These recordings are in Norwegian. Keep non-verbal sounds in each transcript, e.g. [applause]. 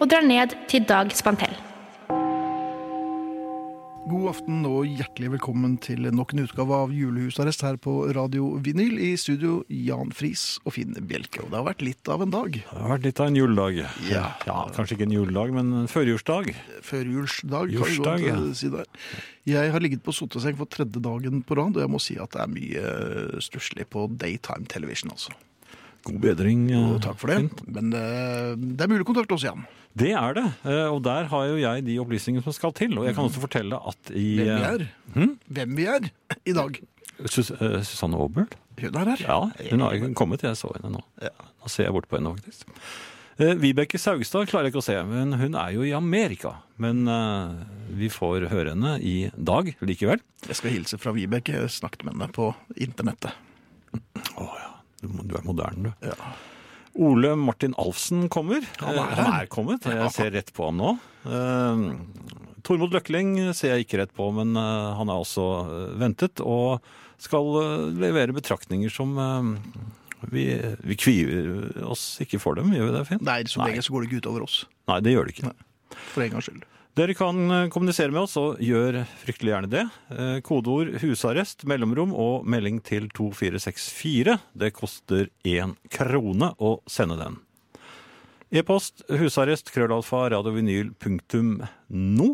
og drar ned til Dag Spantell. God aften og hjertelig velkommen til nok en utgave av Julehusarrest her på Radio Vinyl. I studio Jan Friis og Finn Bjelke. Og det har vært litt av en dag. Det har vært litt av en juledag. Ja. Kanskje ikke en juledag, men en førjulsdag. Førjulsdag, kan vi Julsdag, godt ja. eh, si der. Jeg har ligget på soteseng for tredje dagen på rad, og jeg må si at det er mye eh, stusslig på daytime television, altså. God bedring. eh, Og takk for det. Finn. Men eh, det er mulig kontakt også, Jan. Det er det. eh, Og der har jo jeg de opplysningene som skal til. Og jeg kan også fortelle at i Hvem vi er. Hm? Hvem vi er [laughs] i dag. eh, Sus eh, Susanne Aabert Hun er her. Ja, hun har ikke kommet. Jeg så henne nå. Nå ser jeg bort på henne, faktisk. Eh, Vibeke Saugstad klarer jeg ikke å se, men hun er jo i Amerika. Men eh, vi får høre henne i dag likevel. Jeg skal hilse fra Vibeke. Jeg snakket med henne på internettet. Å ja, du, må- du er moderne, du. Ja. Ole Martin Alfsen kommer. Han er Eh, her. han er kommet. Jeg ser rett på ham nå. Eh, Tormod Løkling ser jeg ikke rett på, men eh, han er også eh, ventet og skal eh, levere betraktninger som eh, vi, vi kvier oss ikke for dem, gjør vi det, Finn? Nei, som Nei. regel så går det ikke utover oss. Nei, det gjør det ikke. For en gangs skyld. Dere kan eh, kommunisere med oss, og gjør fryktelig gjerne det. Eh, Kodeord 'husarrest', mellomrom og melding til 2464. Det koster én krone å sende den. E-post husarrest krøllalfa radiovinyl.no.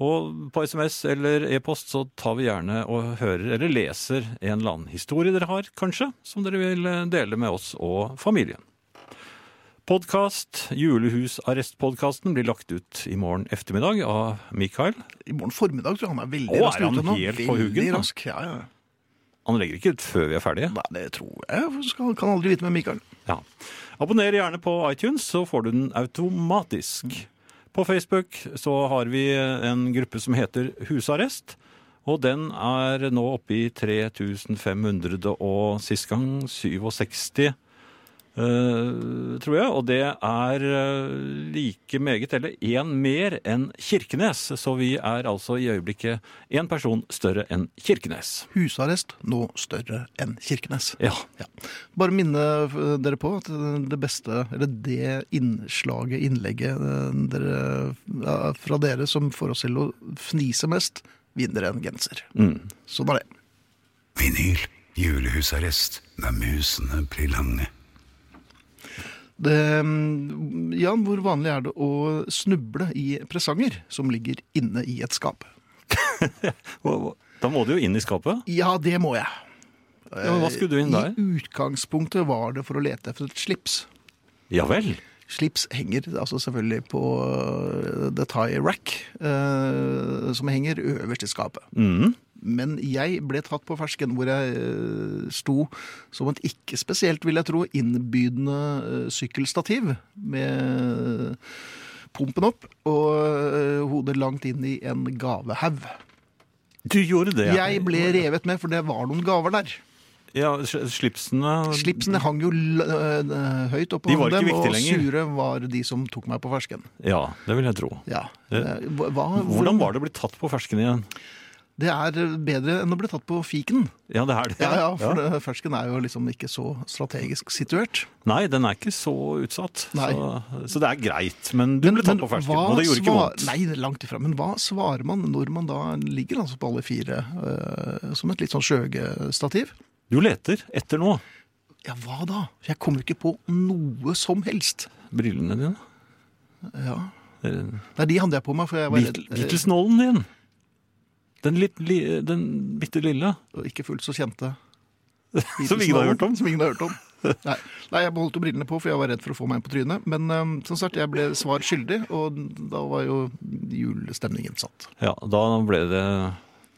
Og på SMS eller e-post så tar vi gjerne og hører eller leser en eller annen historie dere har, kanskje, som dere vil eh, dele med oss og familien. Podkast, Julehusarrestpodkasten, blir lagt ut i morgen ettermiddag av Mikael. I morgen formiddag tror jeg han er veldig Å, er rask han ute nå. helt på Veldig huggen, da? rask. Ja, ja. Han legger ikke ut før vi er ferdige. Nei, det tror jeg. Jeg Skal, kan aldri vite med Mikael. Ja. Abonner gjerne på iTunes, så får du den automatisk. På Facebook så har vi en gruppe som heter Husarrest. Og den er nå oppe i 3500 og sist gang 67, eh, tror jeg. Og det er eh, like meget, eller én mer, enn Kirkenes. Så vi er altså i øyeblikket én person større enn Kirkenes. Husarrest nå større enn Kirkenes. Ja. Ja. Bare minne eh, dere på at eh, det beste, eller det innslaget, innlegget eh, dere, ja, fra dere som får oss til å fnise mest, vinner en genser. Mm. Sånn er det. Vinyl. Julehusarrest når musene blir lange. det. mm, Jan, hvor vanlig er det å snuble i presanger som ligger inne i et [laughs] skap? [laughs] Og- og- Da må du jo inn i skapet. Ja, det må jeg. Ja, men hva skulle du inn der? I utgangspunktet var det for å lete etter et slips. Ja vel. Slips henger altså selvfølgelig på øh, the tie rack, øh, som henger øverst i skapet. Mm. Men jeg ble tatt på fersken, hvor jeg øh, sto som et ikke spesielt, vil jeg tro, innbydende øh, sykkelstativ med pumpen opp og øh, hodet langt inn i en gavehaug. Du gjorde det. Jeg ble revet med, for det var noen gaver der. Ja, sl- slipsene Slipsene hang jo l- øh, høyt oppå Sånn- De var ikke dem, viktige og lenger. sure var de som tok meg på fersken. Ja, det vil jeg tro. Ja. Det- Eh, hva- hva- Hvordan var det å bli tatt på fersken igjen? Det er eh, bedre enn å bli tatt på fiken. Ja, det er det. Ja, ja, for Ja. det- fersken er jo liksom ikke så strategisk situert. Nei, den er ikke så utsatt. Nei. Så, så det er greit. Men du ble tatt på fersken, hva og det gjorde ikke svar- vondt. Nei, langt ifra. Men hva svarer man når man da ligger altså på alle fire eh, som et litt sånn skjøgestativ? Du leter etter noe. Ja, hva da? Jeg kommer jo ikke på noe som helst. Brillene dine. Ja. Eh, Nei, de hadde jeg på meg, for jeg var Beat- redd. eh, Beatles-nålen din. Den, litt, li, den bitte lille. og ikke fullt så [laughs] kjente. Som ingen har hørt om. Som ingen har hørt om. Nei. Nei, jeg beholdt jo brillene på, for jeg var redd for å få meg en på trynet. Men eh, som sagt, jeg ble svar skyldig, og da var jo julestemningen satt. Ja, da ble det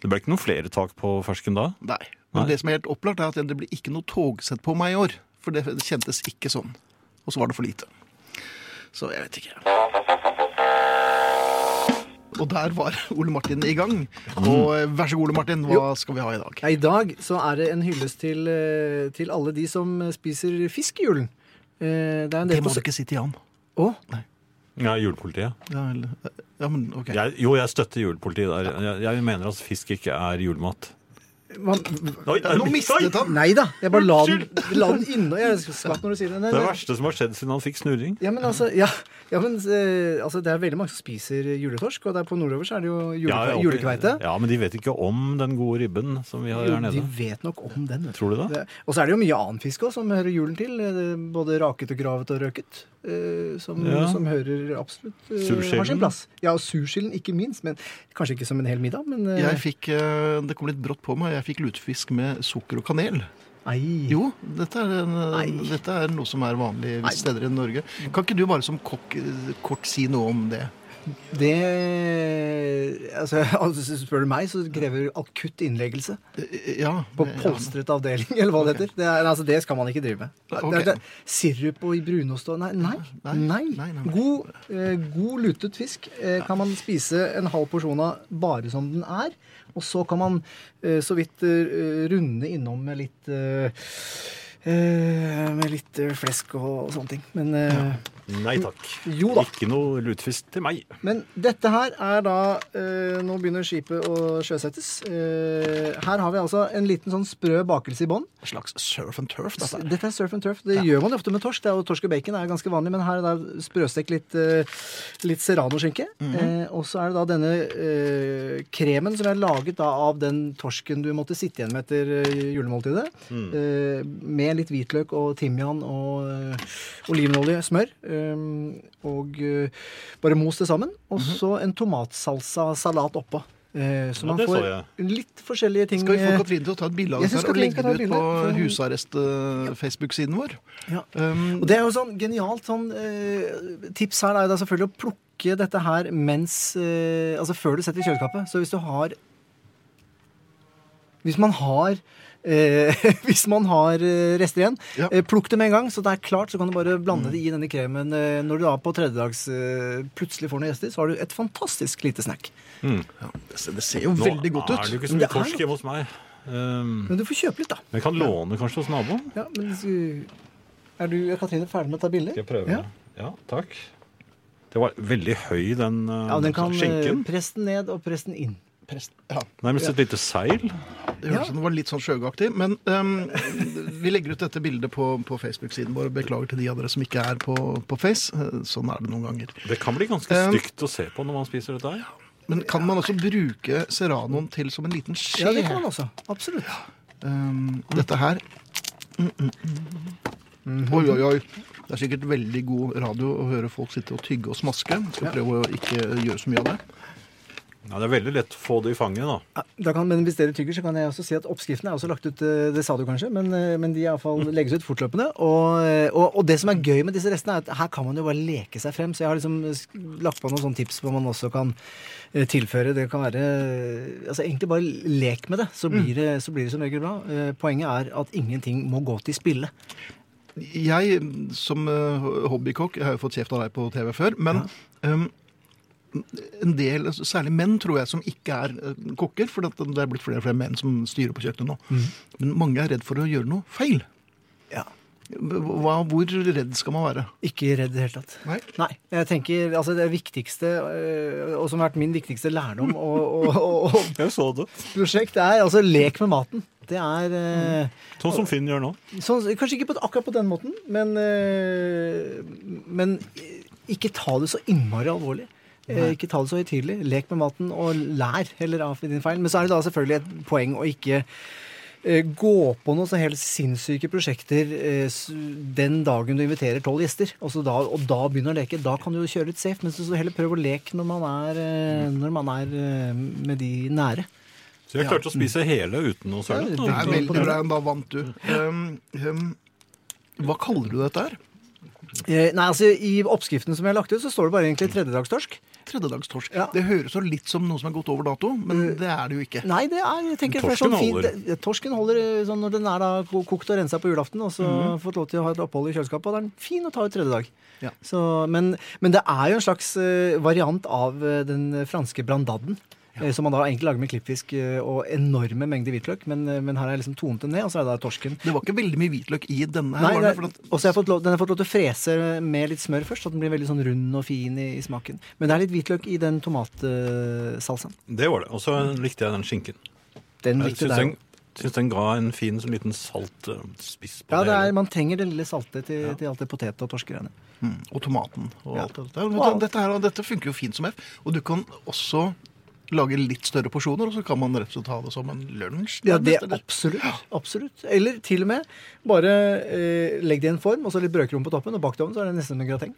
Det ble ikke noen flere tak på fersken da? Nei. Men Nei. det som er helt opplagt, er at det blir ikke noe togsett på meg i år. For det kjentes ikke sånn. Og så var det for lite. Så jeg vet ikke. Og der var [laughs] Ole Martin i gang. Mm. Og eh, vær så god, Ole Martin, hva skal vi ha i dag? Ja, I dag så er det en hyllest til, eh, til alle de som spiser fisk i julen. Eh, Det er en del Det må på- du ikke si til Jan. Å, Ja, julepolitiet. Ja, vel, eh, ja men ok. Jeg, jo, jeg støtter julepolitiet der. Jeg, jeg mener at fisk ikke er julemat. hva- Oi, Nå mistet han! Nei da, jeg bare la den, la den inne. Jeg er skvatt når du sier det. Nei, Det er det nei. verste som har skjedd siden han fikk snurring. Ja, men altså, ja, ja, men, eh, altså, det er veldig mange som spiser juletorsk, og der på nordover så er det jo jule, Ja, ja, julekveite. Ja, men de vet ikke om den gode ribben som vi har Jo, her de nede. vet nok om den. Vet Tror du det? Det- Og så er det jo mye annen fisk også, som hører julen til. eh, Både raket og gravet og røket. eh, Som, Ja. som hører absolutt eh, har Surskillen. sin plass. Ja, og surskillen ikke minst. Men kanskje ikke som en hel middag, men eh, Jeg fikk, eh, det kom litt brått på meg, jeg fikk lutefisk med sukker og kanel. Ei. Jo, dette er, en, eh, Nei. dette er noe som er vanlig Nei. visse steder i Norge. Kan ikke du bare som kokk eh, kort si noe om det? Det altså, [laughs] altså, Spør du meg, så krever akutt innleggelse. Eh, Ja. På eh, ja. polstret avdeling, eller hva det heter. Det, er, altså, det skal man ikke drive med. Ok. Det er- det er sirup og i brunost og Nei. nei, Nei, nei. nei, nei. God, eh, god lutet fisk eh, kan man spise en halv porsjon av bare som den er. Og så kan man eh, så vidt eh, runde innom med litt eh, eh, Med litt eh, flesk og, og sånne ting. Men eh, Nei takk. Jo da. Ikke noe lutefisk til meg. men dette her er da eh, Nå begynner skipet å sjøsettes. Eh, her har vi altså en liten sånn sprø bakelse i bånn. En slags surf and turf, S- dette. Dette er surf and turf. Det gjør man jo ofte med torsk. Det er jo Torsk og bacon er jo ganske vanlig, men her er det sprøstekt litt, eh, litt serranoskinke. eh, og så er det da denne eh, kremen som er laget da av den torsken du måtte sitte igjen med etter eh, julemåltidet. Eh, med litt hvitløk og timian og eh, olivenolje, smør. eh, og eh, bare mos det sammen. Og så en tomatsalsa-salat oppå. Eh, så Ja, man det så får litt forskjellige ting. Skal vi få eh, Katrine til å ta et bilde av Jeg oss synes her og Katrine legge skal ta det et ut på bilde, Mm. for- husarrest-Facebook-siden vår? ja. Um, Og det er jo sånn genialt sånn eh, tips her er da selvfølgelig å plukke dette her mens eh, Altså før du setter i kjøleskapet. Så hvis du har Hvis man har eh, [laughs] Hvis man har eh, rester igjen, Ja. eh, plukk det med en gang. Så det er klart, så kan du bare blande det i denne kremen. eh, når du da på tredjedags eh, plutselig får noen gjester, så har du et fantastisk lite snack. det ser- det ser jo Nå veldig godt er det jo ut. ikke så Men mye det er torsk godt. hjemme hos meg. Um, Men du får kjøpe litt, da. men jeg kan låne kanskje hos naboen. Ja, men eh, er du, er Katrine ferdig med å ta bilder? Skal jeg prøve? Ja. Ja, takk. Det var veldig høy, den, eh, Ja, den kan skinken. eh, press den ned og press den inn. Ja, Nærmest et lite seil. det høres ut som det var litt sånn sjøgaktig. Men um, [laughs] vi legger ut dette bildet på, på Facebook-siden vår. Beklager til de av dere som ikke er på, på Face. Eh, Sånn er det noen ganger. Det kan bli ganske Ehm. Um, stygt å se på når man spiser dette her. Men kan man også bruke serranoen til som en liten skje? Ja, det kan man også. Absolutt. Um, dette her Mm, mm, mm. Mhm. Oi, oi, oi. Det er sikkert veldig god radio å høre folk sitte og tygge og smaske. Skal prøve å ikke gjøre så mye av det. Ja, det er veldig lett å få det i fanget, da. Ja, Da kan, men hvis dere tygger, så kan jeg også si at oppskriftene er også lagt ut. eh, Det sa du kanskje, men, eh, men de i alle fall legges ut fortløpende. Og, eh, og, og det som er gøy med disse restene, er at her kan man jo bare leke seg frem. Så jeg har liksom eh, sk- lagt på noen sånne tips hvor man også kan eh, tilføre. Det kan være eh, Altså egentlig bare lek med det, så blir det, så blir det som regel bra. Eh, Poenget er at ingenting må gå til spille. Jeg som eh, hobbykokk jeg har jo fått kjeft av deg på TV før, men um, en del, særlig menn, tror jeg, som ikke er eh, kokker, for det det er blitt flere og flere menn som styrer på kjøkkenet nå. Mhm. Men mange er redd for å gjøre noe feil. Ja. Hva, hvor redd skal man være? Ikke redd i det hele tatt. Nei. jeg tenker, altså Det viktigste, eh, og som har vært min viktigste lærdom og, og, og, Jeg så det. prosjekt er altså lek med maten. Det er eh, Sånn som Finn gjør nå. sånn, Kanskje ikke på, akkurat på den måten, men, eh, men eh, ikke ta det så innmari alvorlig. Eh, Ikke ta det så høytidelig. Lek med maten, og lær heller av din feil. Men så er det da selvfølgelig et poeng å ikke eh, Gå på noen så helt sinnssyke prosjekter eh, s- den dagen du inviterer tolv gjester, og, så da, og da begynner å leke. Da kan du jo kjøre litt safe, men så så heller prøv å leke når man er, eh, når man er eh, med de nære. Så jeg klarte å spise hele uten noe søle. Ja, Det er Veldig veldig bra, da vant du. Um, um, hva kaller du dette her? Eh, Nei, altså I oppskriften som jeg har lagt ut, så står det bare egentlig tredjedagstorsk. Tredjedagstorsk. Ja. Mm. Det høres jo litt som noe som er gått over dato, men det er det jo ikke. Nei, det er jeg tenker, det er Torsken sånn fint- holder. det- Torsken holder eh, sånn når den er da ko- kokt og rensa på julaften, og så Mhm. fått lov til å ha et opphold i kjøleskapet, og da er den fin å ta ut tredje dag. Ja. Så, men, men det er jo en slags eh, variant av eh, den franske brandadden. eh, Som man da egentlig lager med klippfisk eh, og enorme mengder hvitløk. Men, eh, men her har jeg liksom tonet den ned, og så er det da torsken. Det var ikke veldig mye hvitløk i denne. her, Nei, var det det, er- for at, og så har jeg fått lov, den har fått lov til å frese med litt smør først, så den blir veldig sånn rund og fin i, i smaken. Men det er litt hvitløk i den tomatsalsaen. Det var det. Og så likte jeg den skinken. Den Jeg likte syns deg. den, syns den ga en fin sånn liten salt eh, spiss på Ja, det hele. er, man trenger det lille saltet til, til alt det potet- og torskegreiene. mm, og tomaten og Ja. alt det der. Men Wow. dette, her, dette funker jo fint som F. Og du kan også lage litt større porsjoner, og så kan man rett og slett ha det som en lunsj. Ja, det nærmest, eller? absolutt. absolutt. Eller til og med bare eh, legg det i en form, og så litt brødkrom på toppen, og bak det i ovnen, så er det nesten som en grateng.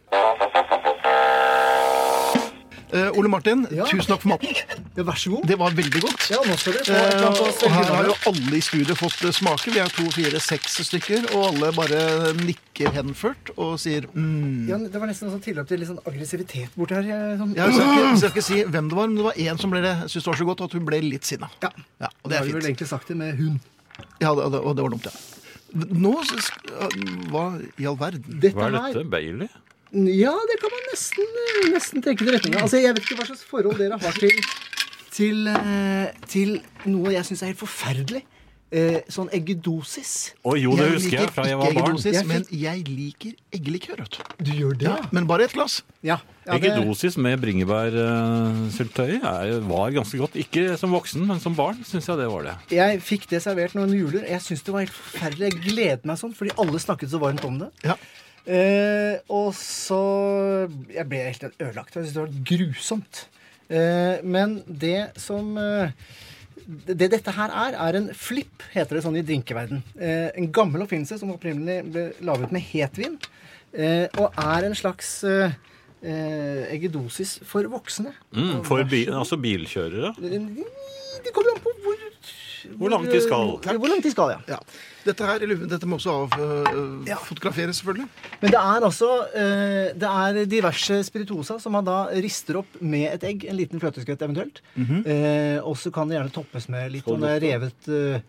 Eh, Ole Martin, Ja. tusen takk for maten. Ja, vær så god. Det var veldig godt. Ja, nå skal dere få et Eh, eller annet å og her svelge har nå. jo alle i studio fått eh, smake. Vi er to, fire, seks stykker, og alle bare nikker henført og sier mm. Ja, det var nesten en sånn tilløp til litt sånn aggressivitet borti her. eh, Sånn. Jeg skal, ikke, jeg skal ikke si hvem det var, men det var én som ble det, syntes det var så godt at hun ble litt sinna. Ja. Ja, og det Da har er vi vel fint. egentlig sagt det med hund. Ja, det, og det var dumt, ja. Nå s- sk- Hva i all verden? Dette Hva er her- dette? Bailey? Ja, det kan man nesten, nesten tenke til retning av. Altså, jeg vet ikke hva slags forhold dere har til, til, eh, til noe jeg syns er helt forferdelig. Eh, Sånn eggedosis. Å jo, det husker jeg fra jeg var barn. eggedosis, Jeg men fikk- jeg liker eggelikør, vet du. Du gjør det? Ja, men bare ett glass. Ja. ja, det- Eggedosis med eh, bringebærsyltetøy var ganske godt. Ikke som voksen, men som barn syns jeg det var det. Jeg fikk det servert noen juler. Jeg syns det var helt forferdelig. Jeg gledet meg sånn, fordi alle snakket så varmt om det. Ja. Eh, og så Jeg ble helt ødelagt. Jeg syntes det var grusomt. Eh, men det som eh, det dette her er, er en flip, heter det sånn i drinkeverden. Eh, en gammel oppfinnelse som opprinnelig ble laget med hetvin. Eh, og er en slags eh, eh, eggedosis for voksne. Mm, for bi altså bilkjørere. Det kommer an på hvor Hvor langt de skal. Hvor langt de skal, ja. Ja. Dette, her, eller, dette må også avfotograferes, selvfølgelig. Men det er altså eh, Det er diverse spirituosa som man da rister opp med et egg. En liten fløteskvett eventuelt. Mhm. eh, og så kan det gjerne toppes med litt Skål, og det er revet eh,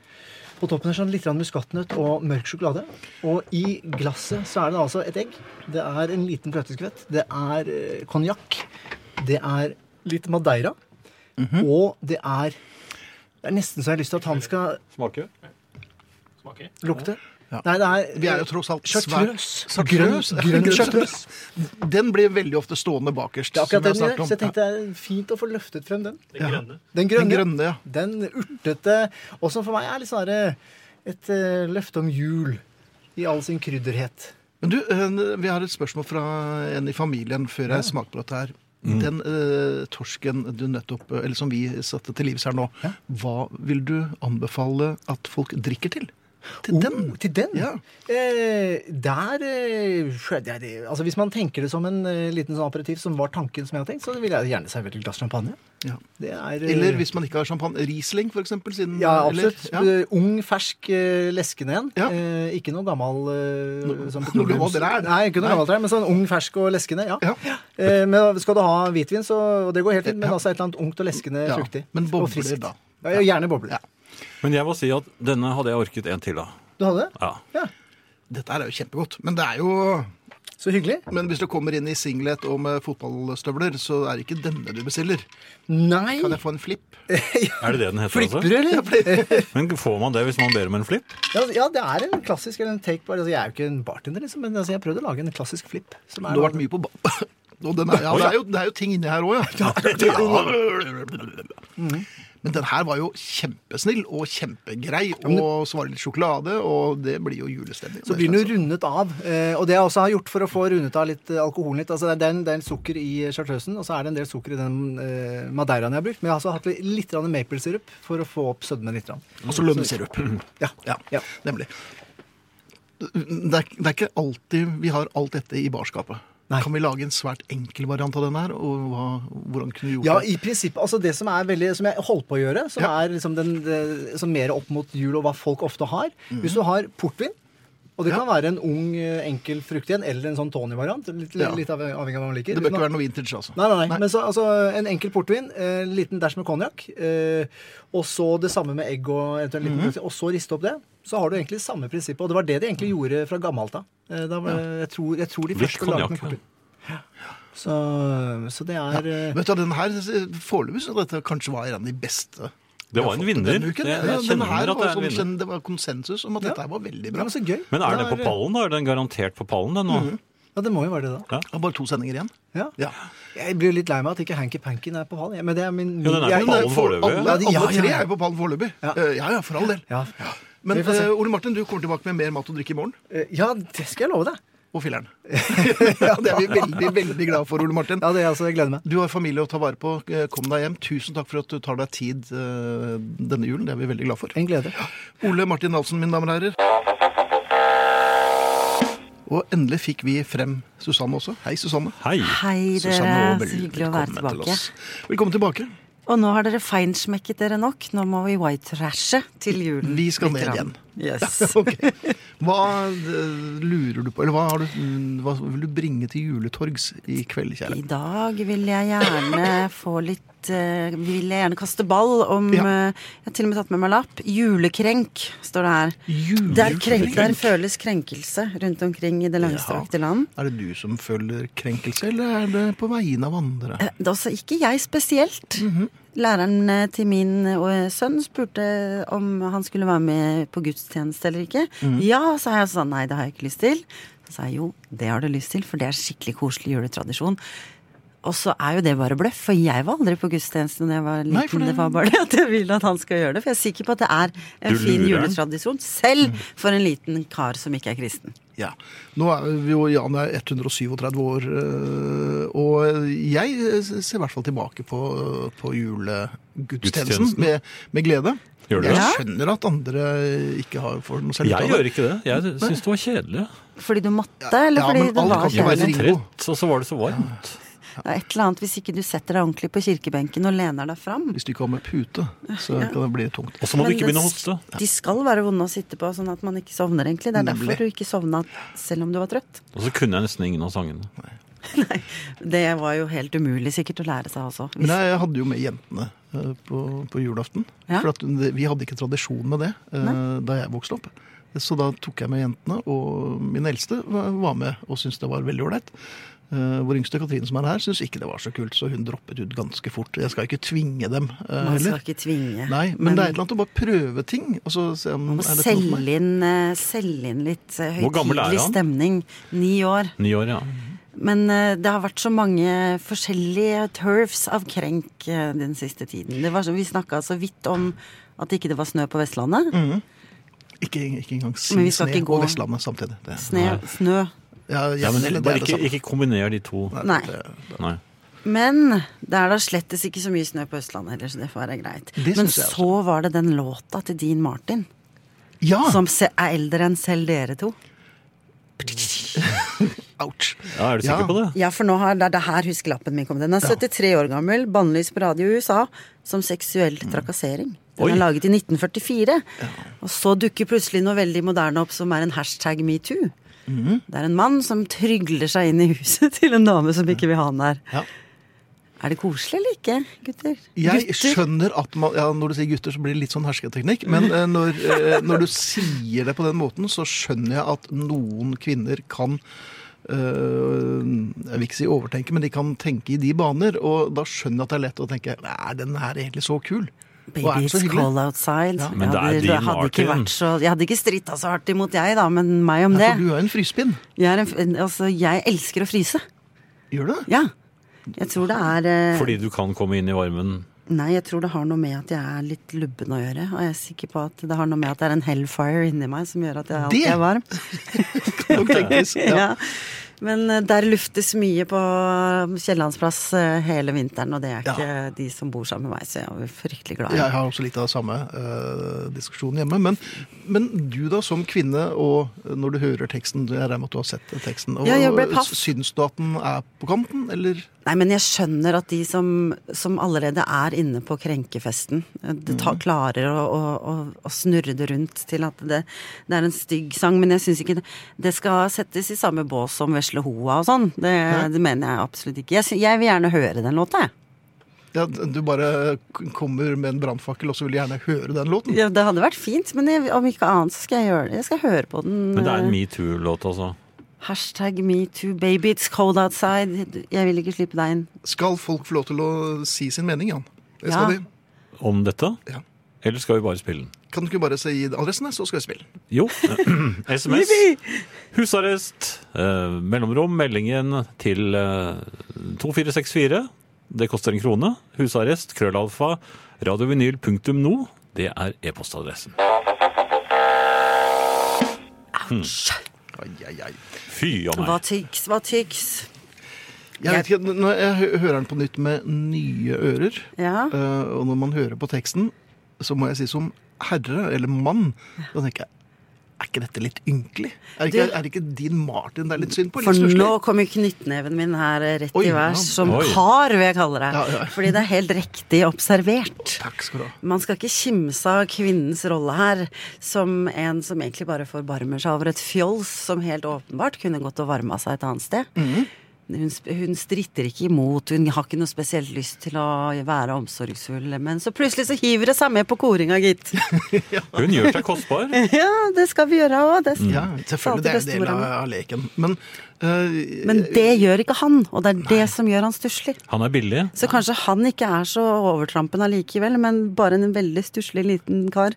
på toppen er sånn litt grann muskatnøtt og mørk sjokolade. Og i glasset så er det altså et egg. Det er en liten fløteskvett. Det er eh, konjakk. Det er litt madeira. Mhm. Og det er Det er nesten så jeg har lyst til at han skal Smaker. lukte. Ja. Nei, det er Vi er jo tross alt Chartreuse. svært- Chartreuse? Grønn, grønn chartreuse. Den blir veldig ofte stående bakerst. Det er som akkurat den vi vi har gjør, snakket om. så jeg tenkte det er fint å få løftet frem den. Ja. Den Den grønne. grønne, ja. Den urtete. Og som for meg er litt snarere et eh, løfte om jul i all sin krydderhet. Men du, eh, vi har et spørsmål fra en i familien før jeg smaker på dette her. Mm. Den eh, torsken du nettopp, eh, eller som vi satte til livs her nå, hva vil du anbefale at folk drikker til? Oh. Til den? Til den? Ja. Eh, der eh, skjedde jeg det- Altså Hvis man tenker det som en eh, liten sånn aperitiv, som var tanken som jeg har tenkt, så ville jeg gjerne servert et glass champagne. Ja. Det er, eh, Eller hvis man ikke har champagne, Riesling for eksempel? Siden, ja, eller- absolutt. ja. Eh, Ung, fersk, eh, leskende en. Ja. Eh, ikke noe gammel eh, sånn noe petroleums- gammelt trær. Nei, ikke noe Nei. gammelt trær, men sånn ung, fersk og leskende. ja. Ja. Eh, men skal du ha hvitvin, så Og det går helt fint, men Ja. altså et eller annet ungt og leskende Ja, fruktig. men bobler og friskt. da. Ja, ja, gjerne bobler. Ja. Men jeg må si at denne hadde jeg orket en til av. Du hadde det? Ja. Ja. Dette her er jo kjempegodt, men det er jo Så hyggelig. Men hvis du kommer inn i singlet og med fotballstøvler, så er det ikke denne du bestiller. Nei! Kan jeg få en flipp? [laughs] Er det det den heter? altså? Flippbrød, eller? Men får man det hvis man ber om en flipp? Ja, altså, ja, det er en klassisk eller en take bar. Altså, jeg er jo ikke en bartender, liksom, men altså, jeg har prøvd å lage en klassisk flip. Som Du har vært mye på ba... [laughs] Og den er, ja, det, er jo, det er jo ting inni her òg, [laughs] ja. Men den her var jo kjempesnill og kjempegrei, og så var det litt sjokolade, og det blir jo julestemning. Så blir den jo rundet av. eh, Og det jeg også har gjort for å få rundet av litt eh, alkoholen litt altså Det er- det er en del sukker i chartreusen, og så er det en del sukker i den eh, madeiraen jeg har brukt. Men jeg har også hatt litt grann maplesirup for å få opp sødmen litt. grann. Og så lønnsirup. Ja. Ja, Ja. nemlig. Det er, det er ikke alltid vi har alt dette i barskapet. Nei. Kan vi lage en svært enkel variant av den her? Og hva, hvordan kunne vi gjort Ja, det? i prinsippet. Altså det som, er veldig, som jeg holdt på å gjøre, som Ja. Mhm. er liksom den, det- som mer opp mot jul og hva folk ofte har Hvis du har portvin Og det kan være en ung, eh, enkel frukt igjen, eller en sånn Tony-variant. Litt, Ja. litt av- avhengig av hva man liker. Det bør Uten å- ikke være noe vintage, altså. Nei, nei, nei. Men så, altså, en enkel portvin, eh, en liten dæsj med konjakk, eh, og så det samme med egg og eventuelt en Mhm. liten Og så riste opp det. Så har du egentlig samme prinsippet. Og det var det de egentlig gjorde fra gammelt av. Eh, da var- jeg, tror, jeg tror de Litt første lagde en konjakk, portvin. Så, så det er eh, Vet du, hva, den her, Foreløpig syns dette kanskje var en av de beste. [laughs] Det var en vinner. Denne uken. Det- jeg Ja, den kjenner her at det var er en sånn, vinner. kjenn- det var konsensus om at dette her var veldig ja, bra. men så gøy. Men er Da den på pallen, da? Er den garantert på pallen, den nå? Mhm. Ja, det må jo være det, da. Det var bare to sendinger igjen. Eh, Ja. Ja. Jeg blir litt lei meg at ikke Hanky Panky er på pallen. jeg, Men det er min Jo, den er på jeg- pallen jeg- foreløpig. Alle, Ja, de- ja, alle tre ja, ja. er jo på pallen foreløpig. Ja. Eh, Ja ja, for all del. Ja. Men Vi får se. eh, Ole Martin, du kommer tilbake med mer mat og drikke i morgen. Eh, ja, det skal jeg love deg. Og [laughs] filleren. ja, det er vi veldig, veldig glad for, Ole Martin. Ja, det er altså, Jeg gleder meg. Du har familie å ta vare på. Eh, Kom deg hjem. Tusen takk for at du tar deg tid eh, denne julen. Det er vi veldig glad for. En glede. Ole Martin Nalsen, mine damer og herrer. Og endelig fikk vi frem Susanne også. Hei, Susanne. Hei. Hei, dere. Susanne Så hyggelig å være tilbake. Velkommen [laughs] tilbake. Og nå har dere feinschmekket dere nok. Nå må vi white trashe til julen. Vi skal Litt ned grann. igjen. Yes. Ok. Hva eh, lurer du på, eller hva, har du, mm, hva vil du bringe til juletorgs i kveld, kjære? I dag vil jeg gjerne [laughs] få litt eh, Vil jeg gjerne kaste ball om Ja. eh, Jeg har til og med tatt med meg lapp. Julekrenk, står det her. Der, krenk, Julekrenk? der føles krenkelse rundt omkring i det langstrakte land. Er det du som føler krenkelse, eller er det på vegne av andre? Eh, Det er også ikke jeg spesielt. Mhm. Læreren eh, til min eh, sønn spurte om han skulle være med på gudstjeneste eller ikke. Mhm. Ja, sa jeg sånn. Nei, det har jeg ikke lyst til. Så sa jeg jo, det har du lyst til, for det er skikkelig koselig juletradisjon. Og så er jo det bare bløff, for jeg var aldri på gudstjenesten da jeg var liten. Nei, for det... det- var bare det at jeg vil at han skal gjøre det, for jeg er sikker på at det er en Du fin lurer han. juletradisjon, selv Mhm. for en liten kar som ikke er kristen. Ja. Nå er vi jo Jan er 137 år, øh, og jeg eh, ser i hvert fall tilbake på, på julegudstjenesten Gudstjenesten. med, med glede. Gjør du jeg det? skjønner at andre ikke har får noe særlig Jeg ut av gjør ikke det. Jeg syns det var kjedelig. sånn Fordi du måtte, eller Ja, fordi men det alt var kan ikke være kjærlighet? Ringo. Trett, og så var det så varmt. Det er et eller annet hvis ikke du setter deg ordentlig på kirkebenken og lener deg fram. Hvis du ikke har med pute, så kan det bli tungt. Og så må du Men ikke begynne å det- hoste. De skal være vonde å sitte på, sånn at man ikke sovner, egentlig. Det er derfor du ikke sovna selv om du var trøtt. Og så kunne jeg nesten ingen av sangene. Det var jo helt umulig sikkert å lære seg også. Men Hvis, jeg jeg hadde jo med jentene øh, på, på julaften. Ja. For at det- vi hadde ikke tradisjon med det øh, da jeg vokste opp. Så da tok jeg med jentene, og min eldste var var med og syntes det var veldig ålreit. Eh, Vår yngste Katrine som er her, syntes ikke det var så kult, så hun droppet ut ganske fort. Jeg skal ikke tvinge dem eh, man skal heller. ikke tvinge. Nei, men, det er et eller annet å bare prøve ting. Og så se om man må er dette noe for meg? selge inn, eh, selge inn litt eh, Hvor gammel er høytidelig han? stemning. Ni år. Ni år, ja. Men eh, det har vært så mange forskjellige turfs av krenk eh, den siste tiden. Det var så, vi snakka så vidt om at ikke det var snø på Vestlandet. Mm. Ikke, ikke engang si Men vi skal sne ikke gå- og Vestlandet samtidig. Det, Sne, snø. ja, ja, ja men det, bare er det ikke, samme. ikke kombiner de to. Nei. Nei. Men det er da slettes ikke så mye snø på Østlandet heller, så det får være greit. Det Men synes jeg også. så var det den låta til Dean Martin, Ja! som se- er eldre enn selv dere to. Ouch. Ja, er du sikker Ja. på det? Ja, for nå har, det er det her huskelappen min kom. Den er 73 år gammel, bannlyst på radio i USA som seksuell Mm. trakassering. Den Oi. er laget i 1944. Og så dukker plutselig noe veldig moderne opp som er en hashtag metoo. Mm. Det er en mann som trygler seg inn i huset [laughs] til en dame som ikke vil ha han der. Ja. Er det koselig eller ikke, gutter? Jeg gutter? skjønner at man, ja, Når du sier gutter, så blir det litt sånn hersketeknikk. Men eh, når, eh, når du sier det på den måten, så skjønner jeg at noen kvinner kan eh, Jeg vil ikke si overtenke, men de kan tenke i de baner. Og da skjønner jeg at det er lett å tenke Er den her egentlig så kul? Og er Baby, den så it's hyggelig? cold outside. Ja, men det er jeg, hadde, Dean jeg hadde ikke Martin. vært så, jeg hadde ikke stritta så hardt imot jeg, da, men meg om Ja, det. for du er en frysepinn. Jeg, er en, f- en- altså, jeg elsker å fryse. Gjør [laughs] du det? Ja. Jeg tror det er eh, Fordi du kan komme inn i varmen. Nei, jeg tror det har noe med at jeg er litt lubben å gjøre. Og jeg er sikker på at det har noe med at det er en hellfire inni meg som gjør at jeg alltid Det- er varm. Kan nok tenkes. [laughs] Ja. Ja. Men eh, der luftes mye på Kiellandsplass eh, hele vinteren, og det er Ja. ikke de som bor sammen med meg, så jeg er fryktelig glad. i. Jeg har også litt av samme eh, diskusjon hjemme. Men, men du da, som kvinne, og når du hører teksten Jeg regner med at du har sett teksten. Og, Ja, jeg ble paff. Syns du at den er på kanten, eller? Nei, men jeg skjønner at de som, som allerede er inne på krenkefesten, eh, det Mhm. ta, klarer å, å, å, å snurre det rundt til at det, det er en stygg sang. Men jeg syns ikke det, det skal settes i samme bås som Vesle Hoa og sånn. Det, det mener jeg absolutt ikke. Jeg, sy- jeg vil gjerne høre den låta, jeg. Ja, du bare k- kommer med en brannfakkel, og så vil du gjerne høre den låten? Ja, det hadde vært fint, men jeg, om ikke annet så skal jeg gjøre det. Jeg skal høre på den. Men det er en eh, metoo-låt, altså. Hashtag metoo, baby, it's cold outside. Jeg vil ikke slippe deg inn. Skal folk få lov til å si sin mening, Jan? Det skal Ja. de. Om dette? Ja. Eller skal vi bare spille den? Kan du ikke bare si adressene, så skal vi spille? [clears throat] Jo. SMS. Husarrest. Eh, mellomrom. Meldingen til eh, 2464. Det koster en krone. Husarrest. Krøllalfa. Radiovinyl.no. Det er e-postadressen. Ai, ai, ai. Fy a Hva meg. tyks, hva tyks. Jeg vet ikke, Når jeg hø- hører den på nytt med nye ører, Ja. eh, og når man hører på teksten, så må jeg si som herre eller mann, da tenker jeg er ikke dette litt ynkelig? Er ikke, Du- er ikke din Martin det er litt synd på? For Litt stusslig? nå kommer knyttneven min her eh, rett Oi, i ja. værs, som Oi. kar, vil jeg kalle det. Ja, ja. Fordi det er helt riktig observert. Takk skal du ha. Man skal ikke kimse av kvinnens rolle her, som en som egentlig bare forbarmer seg over et fjols som helt åpenbart kunne gått og varma seg et annet sted. Mhm. Hun, sp- hun stritter ikke imot, hun har ikke noe spesielt lyst til å være omsorgsfull, men så plutselig så hiver det seg med på [laughs] koringa, gitt. Hun gjør seg [laughs] kostbar. ja, det skal vi gjøre òg. Det, Mm. Ja, selvfølgelig. Det er alltid en del av, bestemoren. av leken. Men, eh, Men det gjør ikke han, og det er det som gjør han stusslig. Han er billig. Så kanskje han ikke er så overtrampen allikevel, men bare en veldig stusslig liten kar.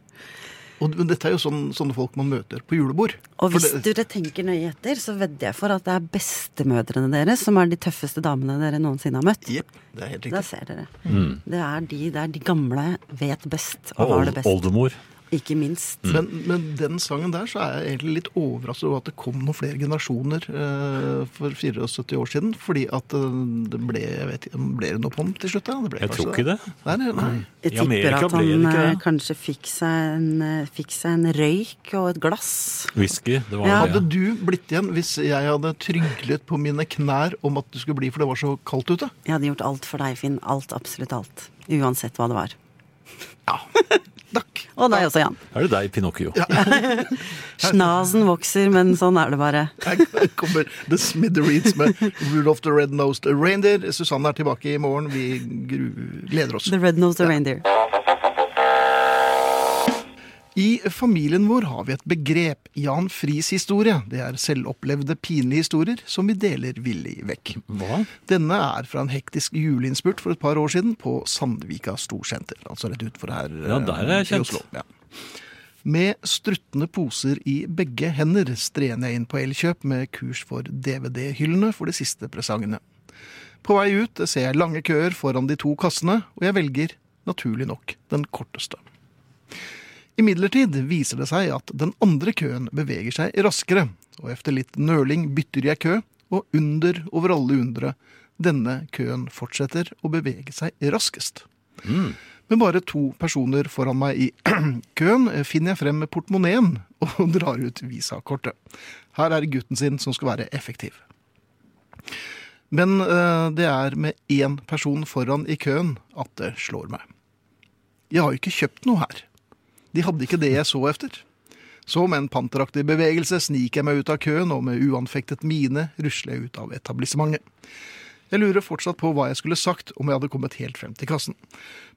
og, men dette er jo sånn, sånne folk man møter på julebord. Og For hvis det- dere tenker nøye etter, så vedder jeg for at det er bestemødrene deres som er de tøffeste damene dere noensinne har møtt. Jepp, det er helt Da riktig. ser dere. Mm. Det, er de, det er de gamle vet best og Og har det old- best. oldemor. Ikke minst. Mm. Men, men den sangen der så er jeg egentlig litt overrasket over at det kom noen flere generasjoner eh, for 74 år siden. Fordi at eh, det ble jeg vet, ikke, Ble det noe på den til slutt? da? Det ble Jeg tror kanskje ikke det. Nei, nei, nei. Jeg I tipper Amerika at ble det han ikke eh, det. kanskje fikk seg, en, eh, fikk seg en røyk og et glass. Whisky. Det var Ja. det. Hadde du blitt igjen hvis jeg hadde tryglet på mine knær om at du skulle bli, for det var så kaldt ute? Jeg hadde gjort alt for deg, Finn. Alt, absolutt alt. Uansett hva det var. [laughs] Takk. Og deg også, Jan. Er det deg, Pinocchio? Snasen vokser, men sånn er det bare. Her kommer The Smithereens med Rudolph the Red-Nosed Reindeer. Susanne er tilbake i morgen. Vi gru- gleder oss. The Red-Nosed Reindeer. I familien vår har vi et begrep, Jan Friis historie. Det er selvopplevde pinlige historier som vi deler villig vekk. Hva? Denne er fra en hektisk juleinnspurt for et par år siden på Sandvika Storsenter. Altså rett utfor her Ja, der er jeg eh, i kjent. Oslo. Ja. Med struttende poser i begge hender strener jeg inn på Elkjøp med kurs for DVD-hyllene for de siste presangene. På vei ut ser jeg lange køer foran de to kassene, og jeg velger, naturlig nok, den korteste. Imidlertid viser det seg at den andre køen beveger seg raskere, og efter litt nøling bytter jeg kø, og under over alle undre, denne køen fortsetter å bevege seg raskest. Med bare to personer foran meg i [clears throat] køen eh, finner jeg frem portemoneen [laughs] og drar ut visakortet. Her er det gutten sin som skal være effektiv. Men eh, det er med én person foran i køen at det slår meg. Jeg har jo ikke kjøpt noe her. De hadde ikke det jeg så efter. Så med en panteraktig bevegelse sniker jeg meg ut av køen, og med uanfektet mine rusler jeg ut av etablissementet. Jeg lurer fortsatt på hva jeg skulle sagt om jeg hadde kommet helt frem til kassen.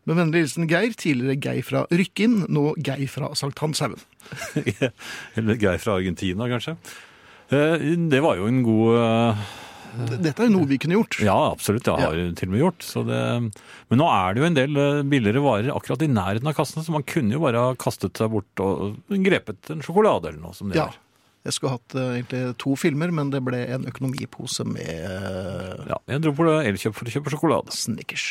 Med vennlig hilsen Geir, tidligere Geir fra Rykkinn, nå Geir fra Sankthanshaugen. [laughs] Eller Geir fra Argentina, kanskje? Eh, Det var jo en god eh, D- Dette er jo noe vi kunne gjort. Ja, absolutt. Det har jeg til og med gjort. Så det, men nå er det jo en del eh, billigere varer akkurat i nærheten av kassene, så man kunne jo bare ha kastet seg bort og grepet en sjokolade eller noe som det Ja. er. Jeg skulle hatt eh, egentlig to filmer, men det ble en økonomipose med eh, Ja, jeg dro på Elkjøp for å kjøpe sjokolade. Snickers.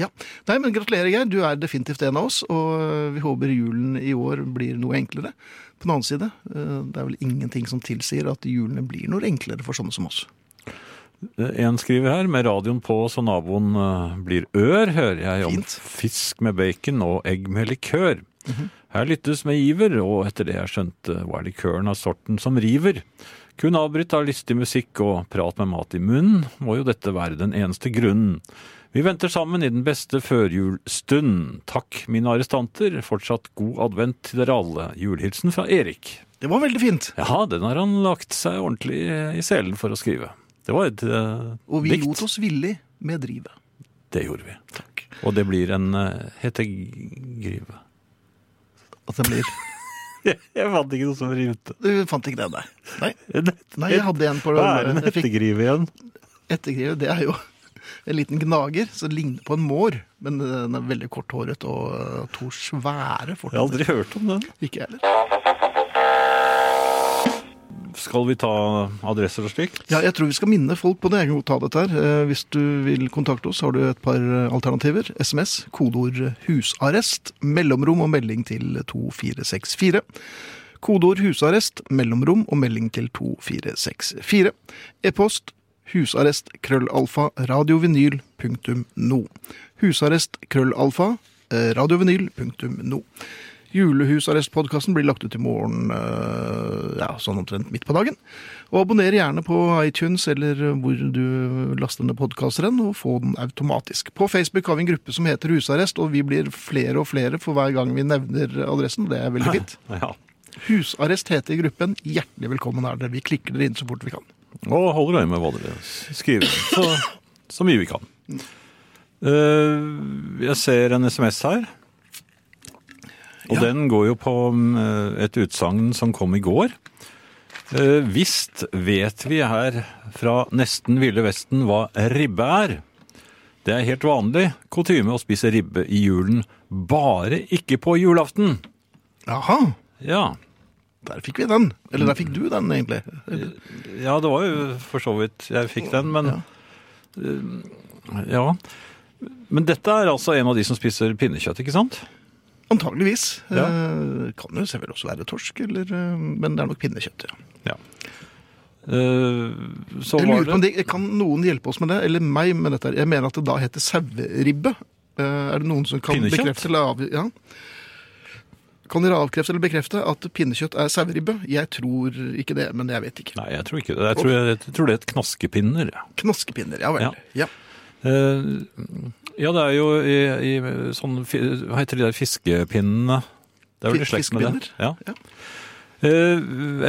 Ja. Nei, men gratulerer, Geir. Du er definitivt en av oss. Og eh, vi håper julen i år blir noe enklere. På den annen side, eh, det er vel ingenting som tilsier at julene blir noe enklere for sånne som oss. En skriver her, med radioen på så naboen eh, blir ør, hører jeg om Fint. fisk med bacon og egg med likør. Her lyttes med iver, og etter det jeg skjønte var likøren av sorten som river. Kun avbryt av listig musikk og prat med mat i munnen, må jo dette være den eneste grunnen. Vi venter sammen i den beste førjulstund. Takk, mine arrestanter. Fortsatt god advent til dere alle. Julehilsen fra Erik. Det var veldig fint. Ja, den har han lagt seg ordentlig eh, i selen for å skrive. Det var et eh, Og vi dikt. lot oss villig med drivet. Det gjorde vi. Og det blir en eh, hetegrive. At det blir [laughs] Jeg, fant ikke noe som rimte. Du fant ikke det, nei. Nei, Hva nei jeg hadde en på er en jeg fikk hettegrive igjen? ettergrive. Det er jo [laughs] en liten gnager som ligner på en mår, men eh, den er veldig korthåret og eh, to svære Jeg har aldri fortenner. hørt om den. Ikke jeg heller. Skal vi ta adresser og slikt? Ja, jeg tror vi skal minne folk på det. Jeg kan godt ta dette her. Eh, Hvis du vil kontakte oss, har du et par eh, alternativer. SMS, kodeord eh, 'husarrest', mellomrom og melding til 2464. Kodeord 'husarrest', mellomrom og melding til 2464. E-post husarrest krøllalfa radiovinyl punktum no. Husarrest krøllalfa eh, radiovinyl punktum no. Julehusarrestpodkasten blir lagt ut i morgen eh, ja, sånn omtrent midt på dagen. Og abonner gjerne på iTunes eller hvor du laster ned podkaster hen, og få den automatisk. På Facebook har vi en gruppe som heter Husarrest, og vi blir flere og flere for hver gang vi nevner adressen. og Det er [laughs] veldig fint. Ja. Husarrest heter gruppen. Hjertelig velkommen er dere. Vi klikker dere inn så fort vi kan. Og holder øye med hva dere skriver. Så, så mye vi kan. Eh, jeg ser en SMS her. Og den går jo på mm, et utsagn som kom i går. Eh, visst vet vi her fra nesten Ville Vesten hva ribbe er. Det er helt vanlig kutyme å spise ribbe i julen, bare ikke på julaften. Jaha, Ja, der fikk vi den. Eller der fikk du den, egentlig. Ja, det var jo for så vidt jeg fikk den, men ja. ja. Men dette er altså en av de som spiser pinnekjøtt, ikke sant? Antageligvis. Ja. Eh, Kan jo selvfølgelig også være torsk, eller, eh, men det er nok pinnekjøtt. Ja. Ja. Eh, så Jeg var lurer på om det det, kan noen hjelpe oss med det, eller meg med dette. her? Jeg mener at det da heter saueribbe. Eh, Er det noen som kan Pinnekjøtt? bekrefte eller av... Ja. Kan dere avkrefte eller bekrefte at pinnekjøtt er saueribbe? Jeg tror ikke det, men jeg vet ikke. Nei, jeg tror ikke det. Jeg tror, jeg, tror det er et knaskepinner. Knaskepinner, ja vel. Ja. Ja. Eh, ja, det er jo i, i sånn fi- Hva heter de der fiskepinnene? Det er vel i Fi- slekt med fiskepinner? det. Ja. Ja. Eh,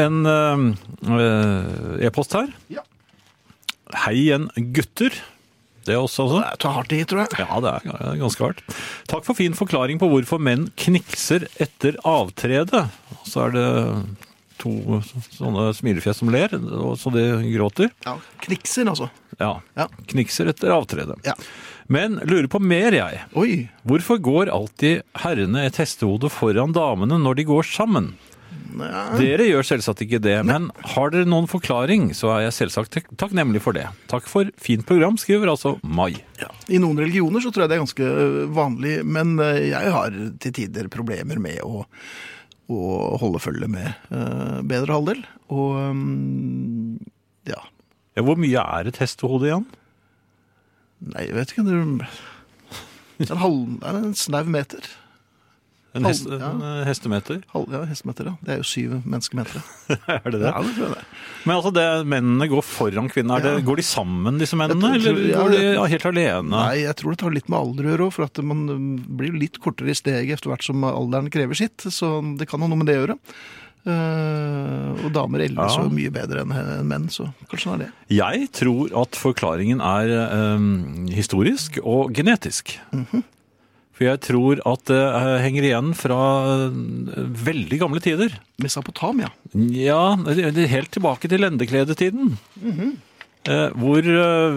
en eh, e-post her. Ja. Hei igjen, gutter. Det er også sånn. Det er ta hardt i, tror jeg. Ja, det er det er ganske hardt. Takk for fin forklaring på hvorfor menn knikser etter avtredet. Så er det to sånne smilefjes som ler, og så de gråter. Ja. Knikser, altså. Ja, Ja. knikser etter avtredet. Ja. Men lurer på mer, jeg. Oi. Hvorfor går alltid herrene et hestehode foran damene når de går sammen? Dere gjør selvsagt ikke det, men har dere noen forklaring, så er jeg selvsagt tak- takknemlig for det. Takk for fint program, skriver altså Mai. Ja. I noen religioner så tror jeg det er ganske øh, vanlig, men øh, jeg har til tider problemer med å, å holde følge med øh, bedre halvdel. Og øhm, ja Ja, hvor mye er et hestehode igjen? Nei, jeg vet ikke. Det er en, halv, nei, det er en snau meter. En, hest, Halv- ja. en eh, hestemeter? [laughs] Halv, ja, hestemeter, ja. Det er jo syv menneskemeter. Er det Ja, det tror jeg det. Men altså, det, mennene går foran kvinnene. Er det- Ja. Går de sammen, disse mennene? Jeg tror- eller ja, går de jeg- ja, helt alene? Nei, jeg tror det tar litt med alder å gjøre òg, for at man øhm, blir jo litt kortere i steget etter hvert som alderen krever sitt. Så det kan ha noe med det å gjøre. Eh, og damer eldes Ja. jo mye bedre enn enn menn, så kanskje det er det. Jeg tror at forklaringen er eh, historisk og genetisk. Mhm. For jeg tror at det eh, henger igjen fra eh, veldig gamle tider. Mesopotamia. Ja, det- det er helt tilbake til lendekledetiden. Mhm. Eh, hvor eh,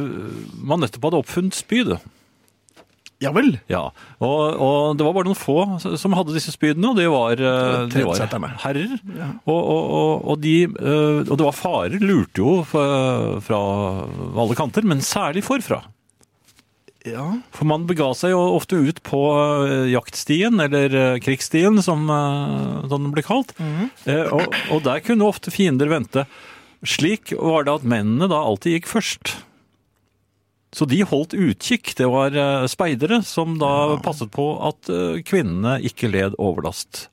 man nettopp hadde oppfunnet spyd. Ja vel. Ja, og, og det var bare noen få som hadde disse spydene, og det var, eh, Det de var var trendsetterne. herrer. Og, og, og, og, de, eh, og det var eh, farer, lurte jo fra, fra alle kanter, men særlig forfra. Ja. For man bega seg jo ofte ut på eh, jaktstien, eller eh, krigsstien som eh, som den ble kalt. Eh, Og, og der kunne ofte fiender vente. Slik var det at mennene da alltid gikk først. Så de holdt utkikk. Det var eh, speidere som da passet på at eh, kvinnene ikke led overlast.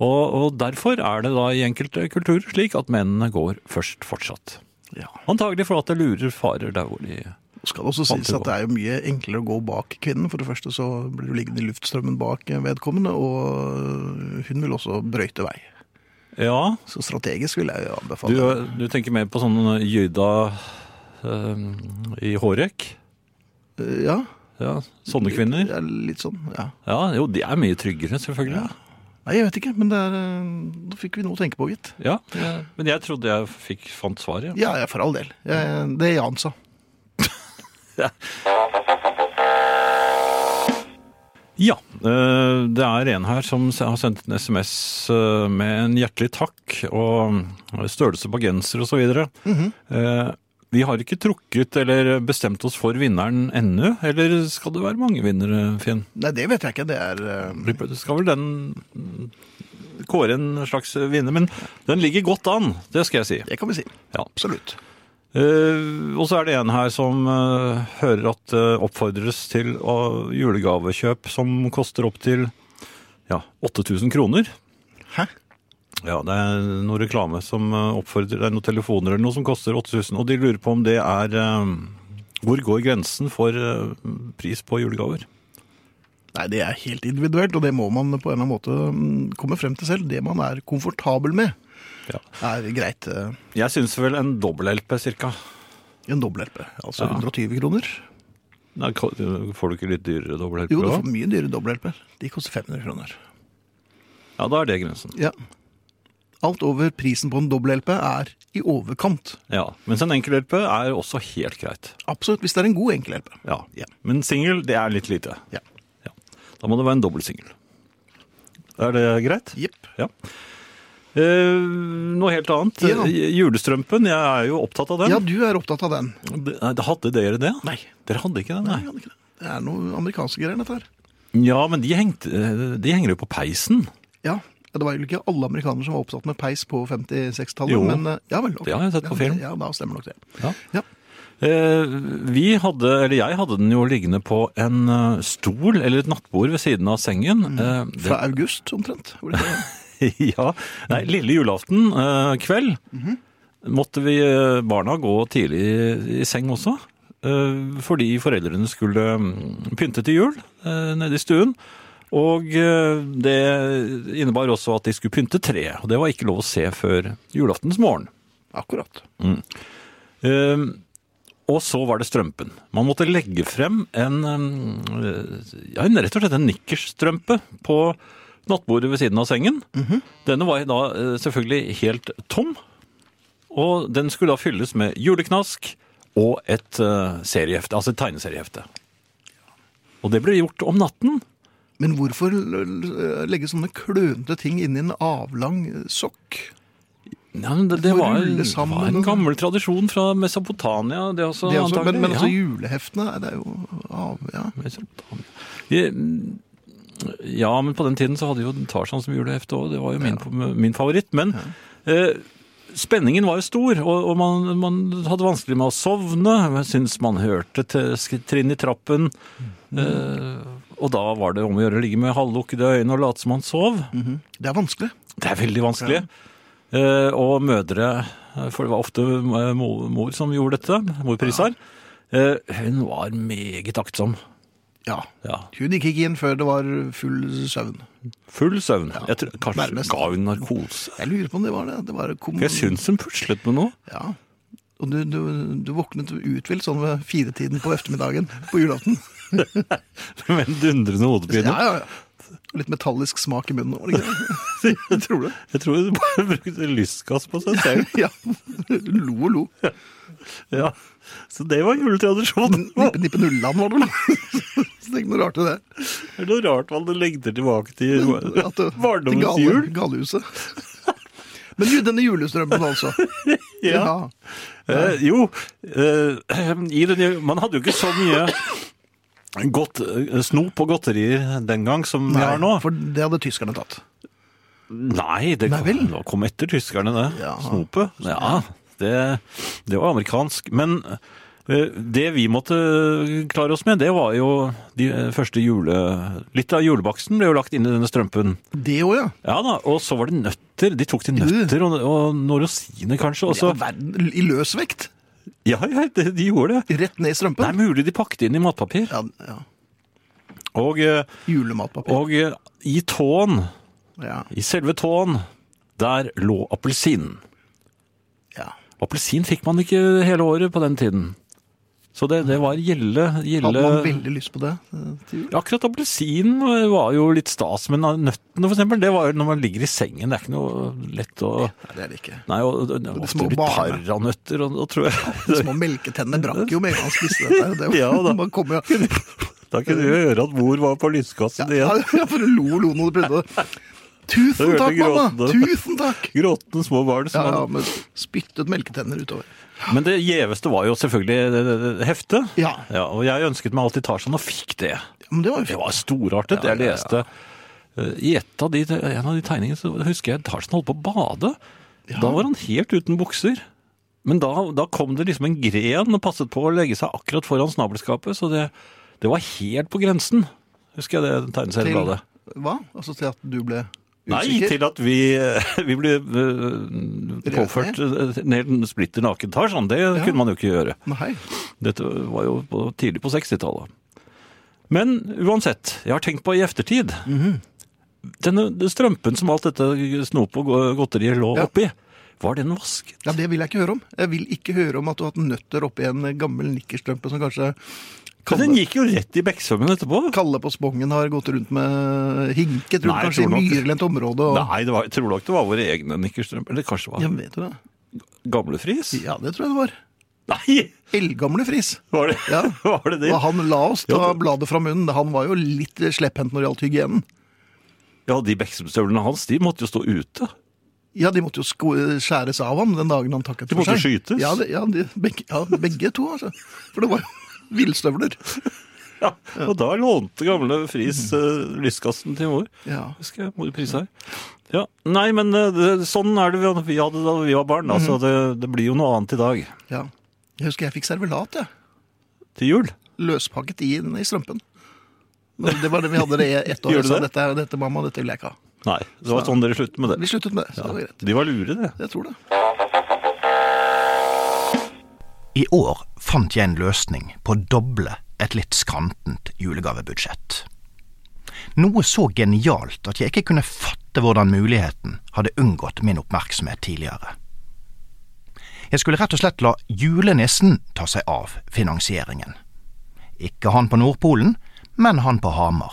og, og derfor er det da i enkelte kulturer slik at mennene går først fortsatt. ja. Antagelig for at det lurer farer der hvor de Skal det også sies at det er jo mye enklere å gå bak kvinnen. For det første så blir du liggende i luftstrømmen bak vedkommende, og hun vil også brøyte vei. Ja, Så strategisk vil jeg jo anbefale. Du, du tenker mer på sånn jøyda eh, i hårrekk? Eh, Ja. Ja, sånne kvinner? Ja, litt sånn, ja. Ja, jo, de er mye tryggere, selvfølgelig. Nei, jeg vet ikke, men det er, eh, da fikk vi noe å tenke på, gitt. Ja, eh, Men jeg trodde jeg fikk, fant svaret. Ja, ja, for all del. Jeg, det Jan sa. Ja, eh, det er en her som s- har sendt en SMS eh, med en hjertelig takk og eh, størrelse på genser osv. Mhm. Eh, Vi har ikke trukket eller bestemt oss for vinneren ennå, eller skal det være mange vinnere, Finn? Nei, det vet jeg ikke. Det er eh, Du skal vel den mm, kåre en slags vinner, men den ligger godt an, det skal jeg si. Det kan vi si. Ja. Absolutt. Eh, og så er det en her som eh, hører at det oppfordres til å, julegavekjøp som koster opp til ja, 8000 kroner. Hæ? Ja, det er noe reklame som eh, oppfordrer, det er noen telefoner eller noe som koster 8000, og de lurer på om det er eh, Hvor går grensen for eh, pris på julegaver? Nei, det er helt individuelt, og det må man på en eller annen måte mm, komme frem til selv. Det man er komfortabel med, Ja. er greit. eh, Jeg syns vel en dobbel-LP cirka. En dobbel-LP, altså 120 kroner. Nei, ko- får du ikke litt dyrere dobbel-LP? Jo, du da? får mye dyre dobbel-LP-er. De koster 500 kroner. Ja, da er det grensen. Ja. Alt over prisen på en dobbel-LP er i overkant. Ja, Mens en enkel LP er også helt greit. Absolutt, hvis det er en god enkel-LP. Ja. Ja. Men singel, det er litt lite. Ja. Ja. Da må det være en dobbeltsingel. Er det greit? Jepp. Ja. Eh, noe helt annet. Ja. Eh, Julestrømpen, jeg er jo opptatt av den. Ja, du er opptatt av den. Det- nei, Hadde dere det? Nei. Dere hadde ikke den, nei. Nei, Annike, Det er noe amerikanske greier, dette her. Ja, men de, hengte, eh, de henger jo på peisen. Ja, det var jo ikke alle amerikanere som var oppsatt med peis på 56-tallet, Jo. men eh, ja vel. ok. Det har jeg sett på Ja, film. Ja, da stemmer nok det. Ja. Ja, Eh, Vi hadde, eller jeg hadde den jo liggende på en eh, stol eller et nattbord ved siden av sengen. Eh, det- Fra august omtrent. hvor det var. [laughs] ja. Nei, lille julaften eh, kveld måtte vi eh, barna gå tidlig i, i seng også. eh, fordi foreldrene skulle mm, pynte til jul eh, nede i stuen. Og eh, det innebar også at de skulle pynte tre. Og det var ikke lov å se før julaftens morgen. Akkurat. Ehm, og så var det strømpen. Man måtte legge frem en, ehm, eh, ja, en rett og slett en nikkersstrømpe på nattbordet ved siden av sengen. Mhm. Denne var da eh, selvfølgelig helt tom, og den skulle da fylles med juleknask og et eh, seriehefte, altså et tegneseriehefte. Og det ble gjort om natten. Men hvorfor l- l- legge sånne klønete ting inni en avlang eh, sokk? Ja, men det, det Får var, rulle sammen var en og- gammel tradisjon fra Mesopotamia. Det også, Det er også, antagelig, men men ja. altså juleheftene, det er jo av, ja. Mesopotamia. Je- mm, Ja, men på den tiden så hadde jo Tarzan som julehefte òg. Det var jo min, min favoritt. Men eh, spenningen var jo stor, og, og man, man hadde vanskelig med å sovne. Jeg syns man hørte til sk- trinn i trappen. Eh, og da var det om å gjøre å ligge med halvlukkede øyne og late som man sov. Det er vanskelig. Det er veldig vanskelig. Eh, og mødre, eh, for det var ofte eh, mor, mor som gjorde dette, mor Prisar, eh, hun var meget aktsom. Ja. Ja, Hun gikk ikke inn før det var full søvn. Full søvn. Jeg tror, kanskje nærmest. ga hun narkose. Jeg lurer på om det var det. Det var kom... For Jeg syns hun puslet med noe. [laughs] Ja. Og du, du, du våknet uthvilt sånn ved firetiden på eftermiddagen på julaften. Med en dundrende Ja, hodepine. ja, ja. Litt metallisk smak i munnen. var det ikke det? [laughs] Jeg tror [laughs] det. Jeg tror hun bare brukte lystgass på seg [laughs] selv. Ja. Lo og lo. Ja. Så det var juletradisjonen. Det Nippe [laughs] Nippe Nulland var det vel. [laughs] Så tenk noe rart i det. er noe rart man legger tilbake til [laughs] At det- det barndommens gale- jul. Galehuset. Men ju- denne julestrømpen, altså. [laughs] Ja. [clears throat] Eh, jo, eh, i den, man hadde jo ikke så mye godt, eh, snop og godterier den gang som vi har nå. for det hadde tyskerne tatt. Nei, det Nei vel? det kom etter tyskerne, det. Ja. Snopet. Ja, det, det var amerikansk. Men eh, det vi måtte klare oss med, det var jo de eh, første jule... Litt av julebaksten ble jo lagt inn i denne strømpen. Det òg, ja. Ja da, og så var det nøtter. De tok til nøtter og, og noen rosiner kanskje. Og I så, all verden, I løsvekt. ja, ja, de, de gjorde det. Rett ned i strømpen. Det er mulig de pakket inn i matpapir. Ja, ja. Og, eh, Julematpapir. og eh, i tåen, Ja, i selve tåen, der lå appelsinen. ja. Appelsin fikk man ikke hele året på den tiden. Så det, det var gjelde, Hadde gjelde man veldig lyst på det eh, til jul? Akkurat appelsinen var jo litt stas, men nøttene for eksempel, det var jo når man ligger i sengen. Det er ikke noe lett å Nei, det er det ikke. Nei, og, og, og ofte små litt barene. paranøtter, og, og tror De jeg [laughs] små melketennene brakk jo med en gang han spiste dette. her. Det var, Ja, da. Man kom jo Da kunne du høre at mor var på lyskassen ja, [laughs] igjen. ja, for lo og lo når du [laughs] prøvde det. Det Tusen hørte takk, mamma! gråtende. Tusen takk! Gråtende små barn. Ja, Som ja, hadde- men spyttet melketenner utover. Men det gjeveste var jo selvfølgelig det, det, det, heftet. Ja. og jeg ønsket meg alltid Tarzan og fikk det. Ja, men det var jo Det fint. var storartet. Jeg leste eh, i et av de, en av de tegningene så husker jeg Tarzan holdt på å bade. Da var han helt uten bukser. Men da, da kom det liksom en gren og passet på å legge seg akkurat foran snabelskapet, så det, det var helt på grensen. Husker jeg det den tegneseriebladet? Hva? Altså til at du ble Nei, usikker? til at vi, vi ble eh, påført eh, ned splitter naken Tarzan. Det kunne man jo ikke gjøre. Nei. Dette var jo på, tidlig på 60-tallet. Men uansett, jeg har tenkt på i eftertid. Mhm. Denne strømpen som alt dette snop og go- godteriet lå Ja. oppi, var den vasket? Ja, Det vil jeg ikke høre om. Jeg vil ikke høre om at du har hatt nøtter oppi en gammel nikkerstrømpe som kanskje Men den gikk jo rett i bekksvømmen etterpå. Kalle på Spongen har gått rundt med hinket rundt Nei, kanskje i tror nok- myrlendt område. Og... Nei, det var, jeg tror nok det var våre egne nikkerstrømper. Eller kanskje det var Ja, vet du det? gamlefris? Ja, det tror jeg det var. Nei! Eldgamle Friis. Var det Ja. [laughs] var det? det? Og han la oss ta Ja, det- bladet fra munnen. Han var jo litt slepphendt når det gjaldt hygienen. Ja, de bekksvømmstøvlene hans de måtte jo stå ute. Ja, de måtte jo sko skjæres av ham den dagen han takket De for måtte seg. skytes? Ja, det, ja, de, begge, ja, begge to, altså. For det var jo [laughs] villstøvler. Ja. Og da lånte gamle Friis eh, lyskassen til mor. Ja. husker jeg. Mor pris her. Ja. Nei, men eh, det, sånn er det vi- vi hadde da vi var barn. Mhm. Altså, det, det blir jo noe annet i dag. ja. Jeg husker jeg fikk servelat, jeg. Til jul. Løspakket i, i strømpen. Men det var det vi hadde det i ett år. Gjorde Jeg sa du det? dette, er- dette, mamma, dette vil jeg ikke ha. Nei, det var sånn dere sluttet med Vi det. sluttet med det, så det var greit. De var lure, det. Jeg tror det. I år fant jeg en løsning på å doble et litt skrantent julegavebudsjett. Noe så genialt at jeg ikke kunne fatte hvordan muligheten hadde unngått min oppmerksomhet tidligere. Jeg skulle rett og slett la julenissen ta seg av finansieringen. Ikke han på Nordpolen, men han på Hamar.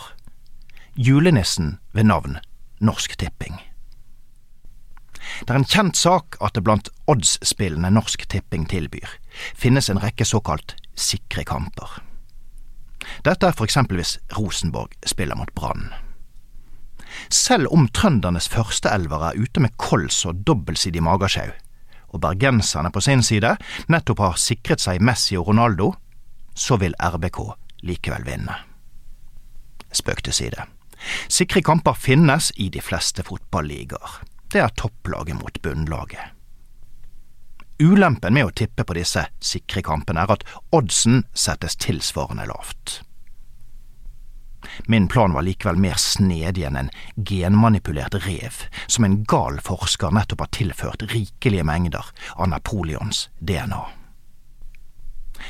Julenissen ved navn Norsk Tipping. Det er en kjent sak at det blant oddsspillene Norsk Tipping tilbyr, finnes en rekke såkalt sikre kamper. Dette er for eksempel hvis Rosenborg spiller mot Brann. Selv om trøndernes førsteelver er ute med kols og dobbeltsidig magesjau, og bergenserne på sin side nettopp har sikret seg Messi og Ronaldo, så vil RBK likevel vinne. Spøk til side. Sikre kamper finnes i de fleste fotballigaer. Det er topplaget mot bunnlaget. Ulempen med å tippe på disse sikre kampene er at oddsen settes tilsvarende lavt. Min plan var likevel mer snedig enn en genmanipulert rev som en gal forsker nettopp har tilført rikelige mengder av Napoleons DNA.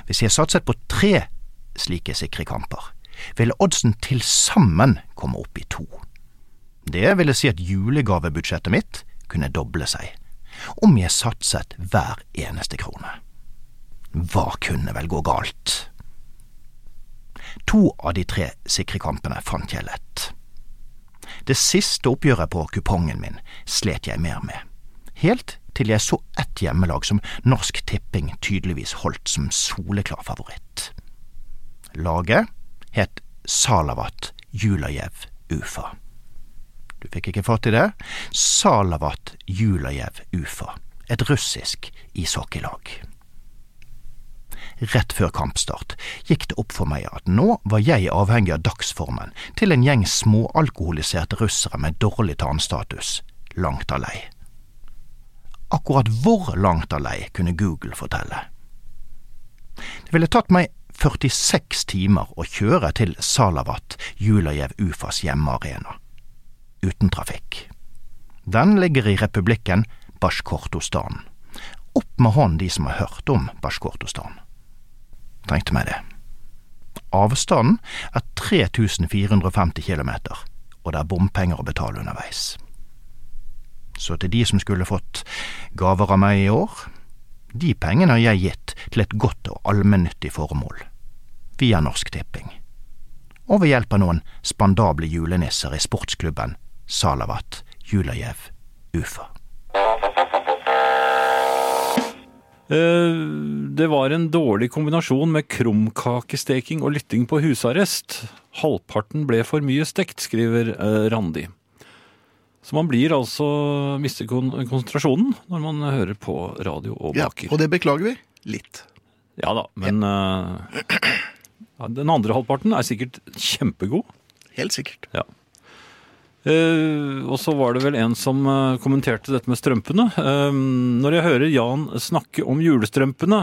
Hvis jeg satset på tre slike sikre kamper, ville oddsen til sammen komme opp i to. Det ville si at julegavebudsjettet mitt kunne doble seg, om jeg satset hver eneste krone. Hva kunne vel gå galt? To av de tre sikre kampene fant jeg lett. Det siste oppgjøret på kupongen min slet jeg mer med. Helt til jeg så ett hjemmelag som Norsk Tipping tydeligvis holdt som soleklar favoritt. Laget het Salavat Julajev Ufa. Du fikk ikke fatt i det? Salavat Julajev Ufa. Et russisk ishockeylag. rett før kampstart, gikk det opp for meg at nå var jeg avhengig av dagsformen til en gjeng småalkoholiserte russere med dårlig tannstatus, langt av lei. Akkurat hvor langt av lei kunne Google fortelle. Det ville tatt meg 46 timer å kjøre til Salavat, Julajev Ufas hjemmearena. Uten trafikk. Den ligger i republikken Basjkortostan. Opp med hånd de som har hørt om Basjkortostan. Trengte meg det. Avstanden er 3450 km, og det er bompenger å betale underveis. Så til de som skulle fått gaver av meg i år, de pengene har jeg gitt til et godt og allmennyttig formål, via Norsk Tipping, og ved hjelp av noen spandable julenisser i sportsklubben Salavat Julajev Ufa. Eh, Det var en dårlig kombinasjon med krumkakesteking og lytting på husarrest. Halvparten ble for mye stekt, skriver eh, Randi. Så man blir altså mister kon konsentrasjonen når man hører på radio og Ja, baker. og det beklager vi. Litt. Ja da, men eh, ja, den andre halvparten er sikkert kjempegod. Helt sikkert. Eh, og så var det vel en som eh, kommenterte dette med strømpene. Eh, når jeg hører Jan snakke om julestrømpene,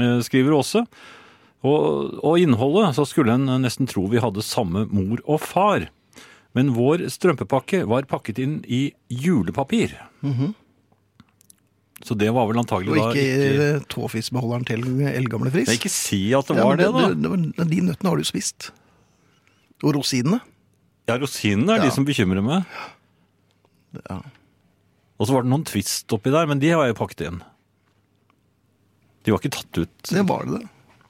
eh, skriver Åse, og, og innholdet, så skulle en nesten tro vi hadde samme mor og far. Men vår strømpepakke var pakket inn i julepapir. Så det var vel antagelig Mhm. Og da ikke eh, tåfisbeholderen til eldgamle Friis. Nei, ikke si at det Ja, var men det, da. det- De nøttene har du spist. Og rosinene. Ja, rosinene er Ja. de som bekymrer meg. Ja. Og så var det noen twist oppi der, men de har jeg pakket inn. De var ikke tatt ut. Det var det.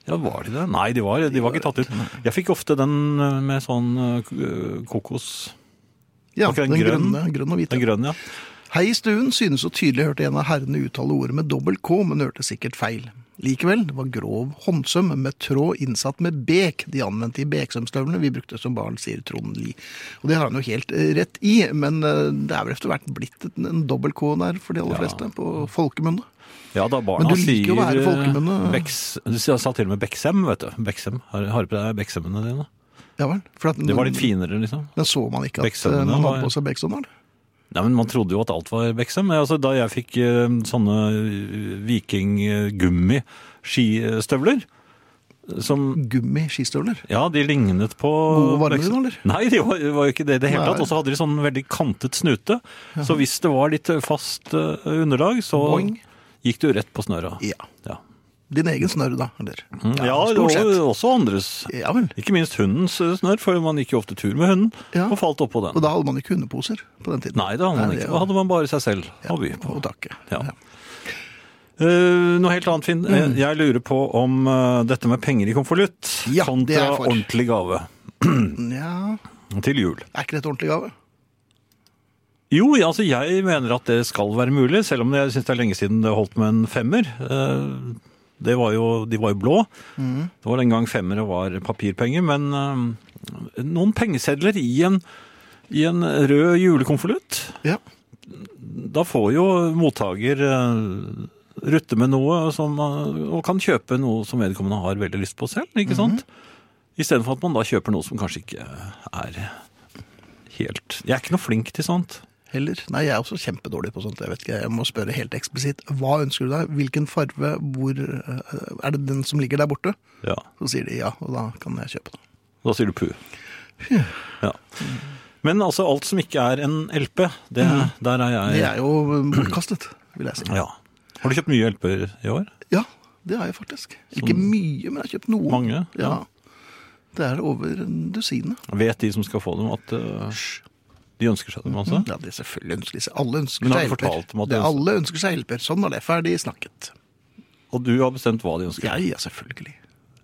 Ja, var de det? Nei, de var, de var ikke tatt ut. Jeg fikk ofte den eh, med sånn eh, k- eh, kokos. Ja, Var ikke den den grønn? grønne, grønn og hvite. Den grønne, ja. Hei i stuen synes så tydelig hørte en av herrene uttale ordet med dobbel K, men hørte sikkert feil. Likevel, det var grov håndsøm med tråd innsatt med bek de anvendte i beksømstøvlene vi brukte som barn, sier Trond Lie. Og det har han jo helt eh, rett i, men eh, det er vel etter hvert blitt en- en dobbel K der for de aller fleste, på folkemunne. Ja, da barna Men du liker jo å være sier, eh, folkemunne. Becks- Du sa sa til og med Beksem, vet du. Beksem. Har, har du på deg Beksemmene dine? Ja vel? For at, Det var litt finere, liksom. Men så man ikke at eh, Beksømmene man var- hadde på seg beksømmeren? Nei, men Man trodde jo at alt var Beckham. Men Altså, da jeg fikk eh, sånne eh, vikinggummi-skistøvler som Gummi skistøvler? ja, de lignet på Gode varme Beckham. de, eller? Nei, de var, var jo ikke det i det hele Nei. tatt. Og så hadde de sånn veldig kantet snute. Så hvis det var litt fast eh, underlag, så Boing. gikk du rett på snøra. Ja. Ja, Din egen snørr, da? Eller? Mm, ja stort og sett. også andres. Ja vel. Ikke minst hundens eh, snørr, for man gikk jo ofte tur med hunden Ja. og falt oppå Og den. da hadde man ikke hundeposer på den tiden. Nei, det hadde man ikke. Da hadde man bare seg selv å by på. Og takke. Ja. Eh, noe helt annet, Finn. Mm. Eh, Jeg lurer på om eh, dette med penger i konvolutt Ja, det er kontra jeg for. ordentlig gave Nja, til jul. er ikke dette ordentlig gave? Jo, ja, altså jeg mener at det skal være mulig, selv om jeg syns det er lenge siden det holdt med en femmer. Eh, Det var jo, de var jo blå. Mm. Det var den gang femmere var papirpenger, men eh, noen pengesedler i en, i en rød julekonvolutt Ja. Da får jo mottaker eh, rutte med noe som, eh, og kan kjøpe noe som vedkommende har veldig lyst på selv, ikke sant? Istedenfor at man da kjøper noe som kanskje ikke er helt Jeg er ikke noe flink til sånt. Heller. Nei, jeg er også kjempedårlig på sånt. Jeg vet ikke, jeg må spørre helt eksplisitt. Hva ønsker du deg? Hvilken farve? Hvor eh, Er det den som ligger der borte? Ja. Så sier de ja, og da kan jeg kjøpe det. Da sier du pu. Ja. Men altså, alt som ikke er en LP, Mhm. det, der er jeg Det er jo um, bortkastet, vil jeg si. ja. Har du kjøpt mye LP-er i år? Ja, det har jeg faktisk. Ikke mye, men jeg har kjøpt noen. Mange? Ja. Det er over dusinet. Vet de som skal få dem, at eh, de ønsker seg dem, altså? Ja, det er selvfølgelig ønskelig. Alle ønsker Men seg har du hjelper. fortalt dem at du Det- ønsker- Alle ønsker seg hjelper. Sånn var det ferdig snakket. Og du har bestemt hva de ønsker? Ja, ja, selvfølgelig.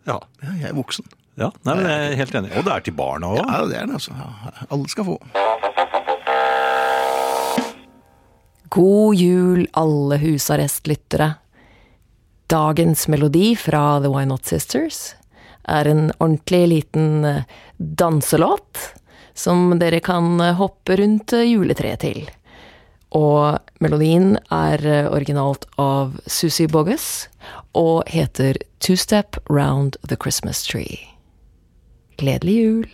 Ja. Ja, jeg er voksen. ja. Nei, men jeg er helt enig. Og det er til barna òg. Ja, det er det, altså. Ja, alle skal få. God jul, alle husarrestlyttere. Dagens melodi fra The Why Not Sisters er en ordentlig liten eh, danselåt som dere kan eh, hoppe rundt eh, juletreet til. Og melodien er eh, originalt av Susi Bogus og heter Two Step Round the Christmas Tree. Gledelig jul!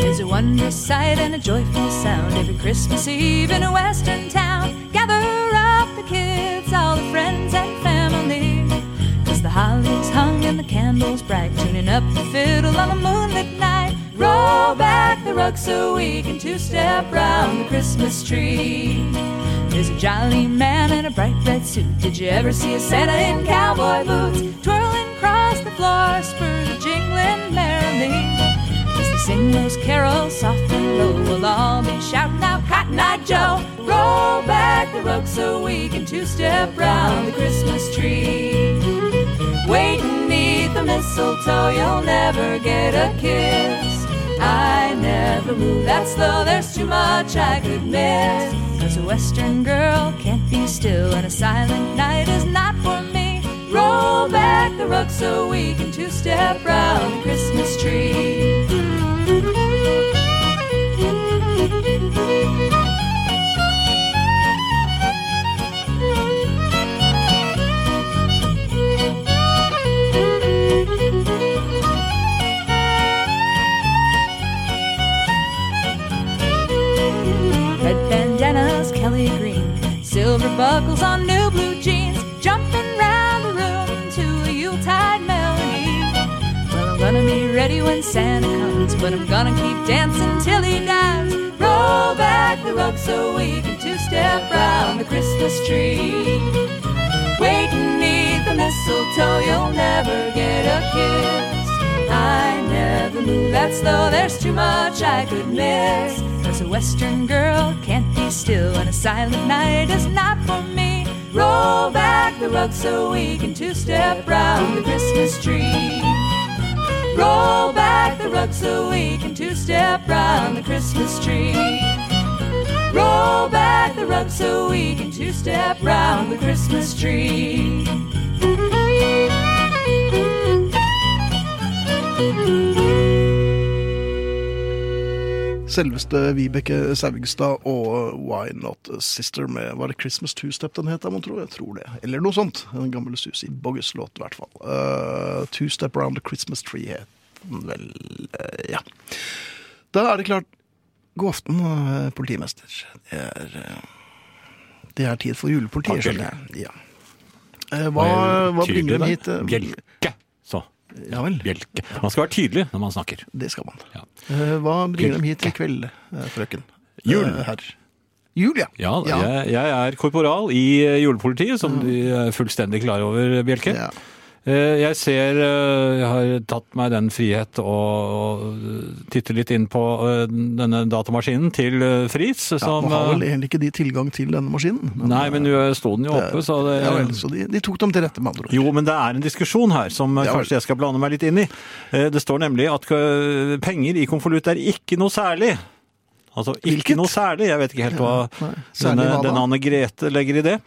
There's a wondrous sight and a joyful sound every Christmas Eve in a western town. Gather up the kids, all the friends and family. 'Cause the holly's hung and the candles bright, tuning up the fiddle on a moonlit night. Roll back the rug so we can two step round the Christmas tree. There's a jolly man in a bright red suit. Did you ever see a Santa in cowboy boots? Twirling across the floor, spurs are jingling merrily. As they sing those carols soft and low, we'll all be shouting out Cotton Eye Joe. Roll back the rug so we can two-step round the Christmas tree. Waiting neath the mistletoe, you'll never get a kiss. I never move that slow, there's too much I could miss. Cause a western girl can't be still, and a silent night is not for me. Roll back the rug so we can two step round the Christmas tree. Red bandanas, Kelly green, silver buckles on new blue jeans, jumping round the room to a Yuletide melody. Well, I'm gonna be ready when Santa comes, but I'm gonna keep dancing till he dies. Roll back the rug so we can two-step round the Christmas tree. Waiting neath the mistletoe, you'll never get a kiss. I never knew that slow, there's too much I could miss. Cause a western girl can't be still, and a silent night is not for me. Roll back the rug so we can two step round the Christmas tree. Roll back the rug so we can two step round the Christmas tree. Roll back the rug so we can two step round the Christmas tree. Selveste Vibeke Saugstad og Why Not a Sister med Var det Christmas Two Step den het, da, mon tro? Jeg tror det. Eller noe sånt. En gammel Susi Boggus-låt, i hvert fall. Eh, two Step Round the Christmas Tree het den vel eh, Ja. Da er det klart God aften, eh, politimester. Det er, eh, det er tid for julepolitiet, Takk, skjønner jeg. Ja. Eh, Hva, hva bringer dem hit? eh? Bjelke. Så. Ja vel, Bjelke. Man skal være tydelig når man snakker. det skal man. Ja. Eh, Hva bringer dem hit i kveld, eh, frøken? Jul. Eh, Herr. Jul, ja. Mm. Ja, Jeg, jeg er korporal i eh, julepolitiet, som de er fullstendig klar over, Bjelke. Ja. Eh, Jeg ser eh, Jeg har tatt meg den frihet å å titte litt inn på eh, denne datamaskinen til eh, Fritz, som Man har vel eh, egentlig ikke de tilgang til denne maskinen. men- eh, Nei, men nå sto den jo oppe, så det ja vel, så de, de tok dem til rette, med andre ord. Jo, men det er en diskusjon her som Ja vel. kanskje jeg skal blande meg litt inn i. Eh, Det står nemlig at eh, penger i konvolutt er ikke noe særlig. Altså ikke Hvilket? noe særlig, jeg vet ikke helt hva nei. Særlig denne, hva da? denne Anne Grete legger i det.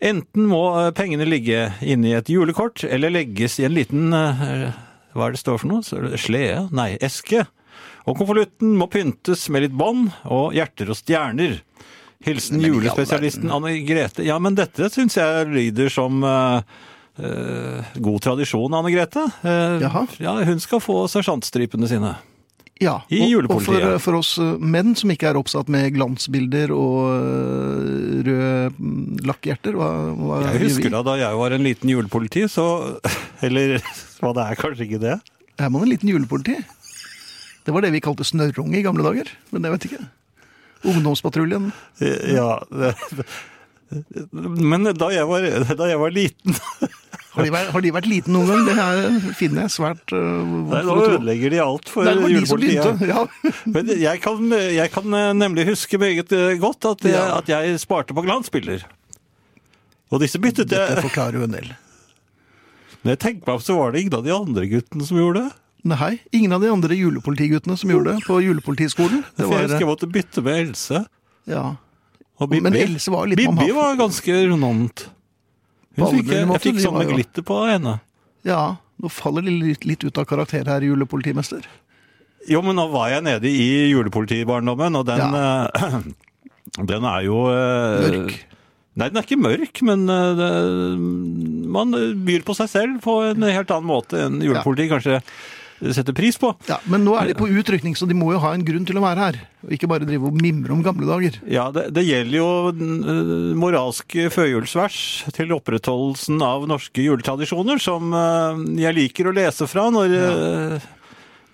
Enten må eh, pengene ligge inni et julekort, eller legges i en liten eh, Hva er det står for noe? Så er det Slede? Nei, eske. Og konvolutten må pyntes med litt bånd og hjerter og stjerner. Hilsen Men i all julespesialisten Anne Grete. Ja, men dette syns jeg lyder som eh, eh, god tradisjon, Anne Grete. Eh, Jaha. ja, hun skal få sersjantstripene sine. Ja, I og, og julepolitiet. for, for oss eh, menn som ikke er oppsatt med glansbilder og eh, røde mm, lakkhjerter hva, hva Jeg gjør husker vi? da da jeg var en liten julepoliti, så [laughs] Eller hva det er, kanskje ikke det. Er man en liten julepoliti? Det var det vi kalte snørrunge i gamle dager, men det vet jeg ikke. Ungdomspatruljen. Eh, Ja [laughs] det, Men da jeg var, da jeg var liten Har de, vært, har de vært liten noen gang? Det her finner jeg svært uh, Nei, Nå ødelegger de alt for Nei, det var de som julepolitiet. begynte. Ja. Men jeg kan, jeg kan eh, nemlig huske meget eh, godt at jeg, Ja. at jeg sparte på glansbilder. Og disse byttet Det jeg. forklarer jo en del. Når jeg tenker meg om, så var det ingen av de andre guttene som gjorde det. Nei, ingen av de andre julepolitiguttene som gjorde det på julepolitiskolen. Det For jeg var, eh, husker jeg måtte bytte med Else. ja. Og Men Else var jo litt Bibbi mamma. var ganske rundant. på Hun alle fikk, mulige jeg måter. fikk De sånn var med jo- glitter på henne. Ja, nå faller de litt, litt ut av karakter her, julepolitimester. Jo, men nå var jeg nede i julepolitibarndommen, og den eh, [clears throat] Den er jo eh, Mørk. Nei, den er ikke mørk, men eh, det, man byr på seg selv på en helt annen måte enn julepolitiet kanskje setter pris på. Ja, men nå er de eh, på utrykning, så de må jo ha en grunn til å være her. Og ikke bare drive og mimre om gamle dager. Ja, det, det gjelder jo eh, moralske førjulsvers til opprettholdelsen av norske juletradisjoner, som eh, jeg liker å lese fra når, eh,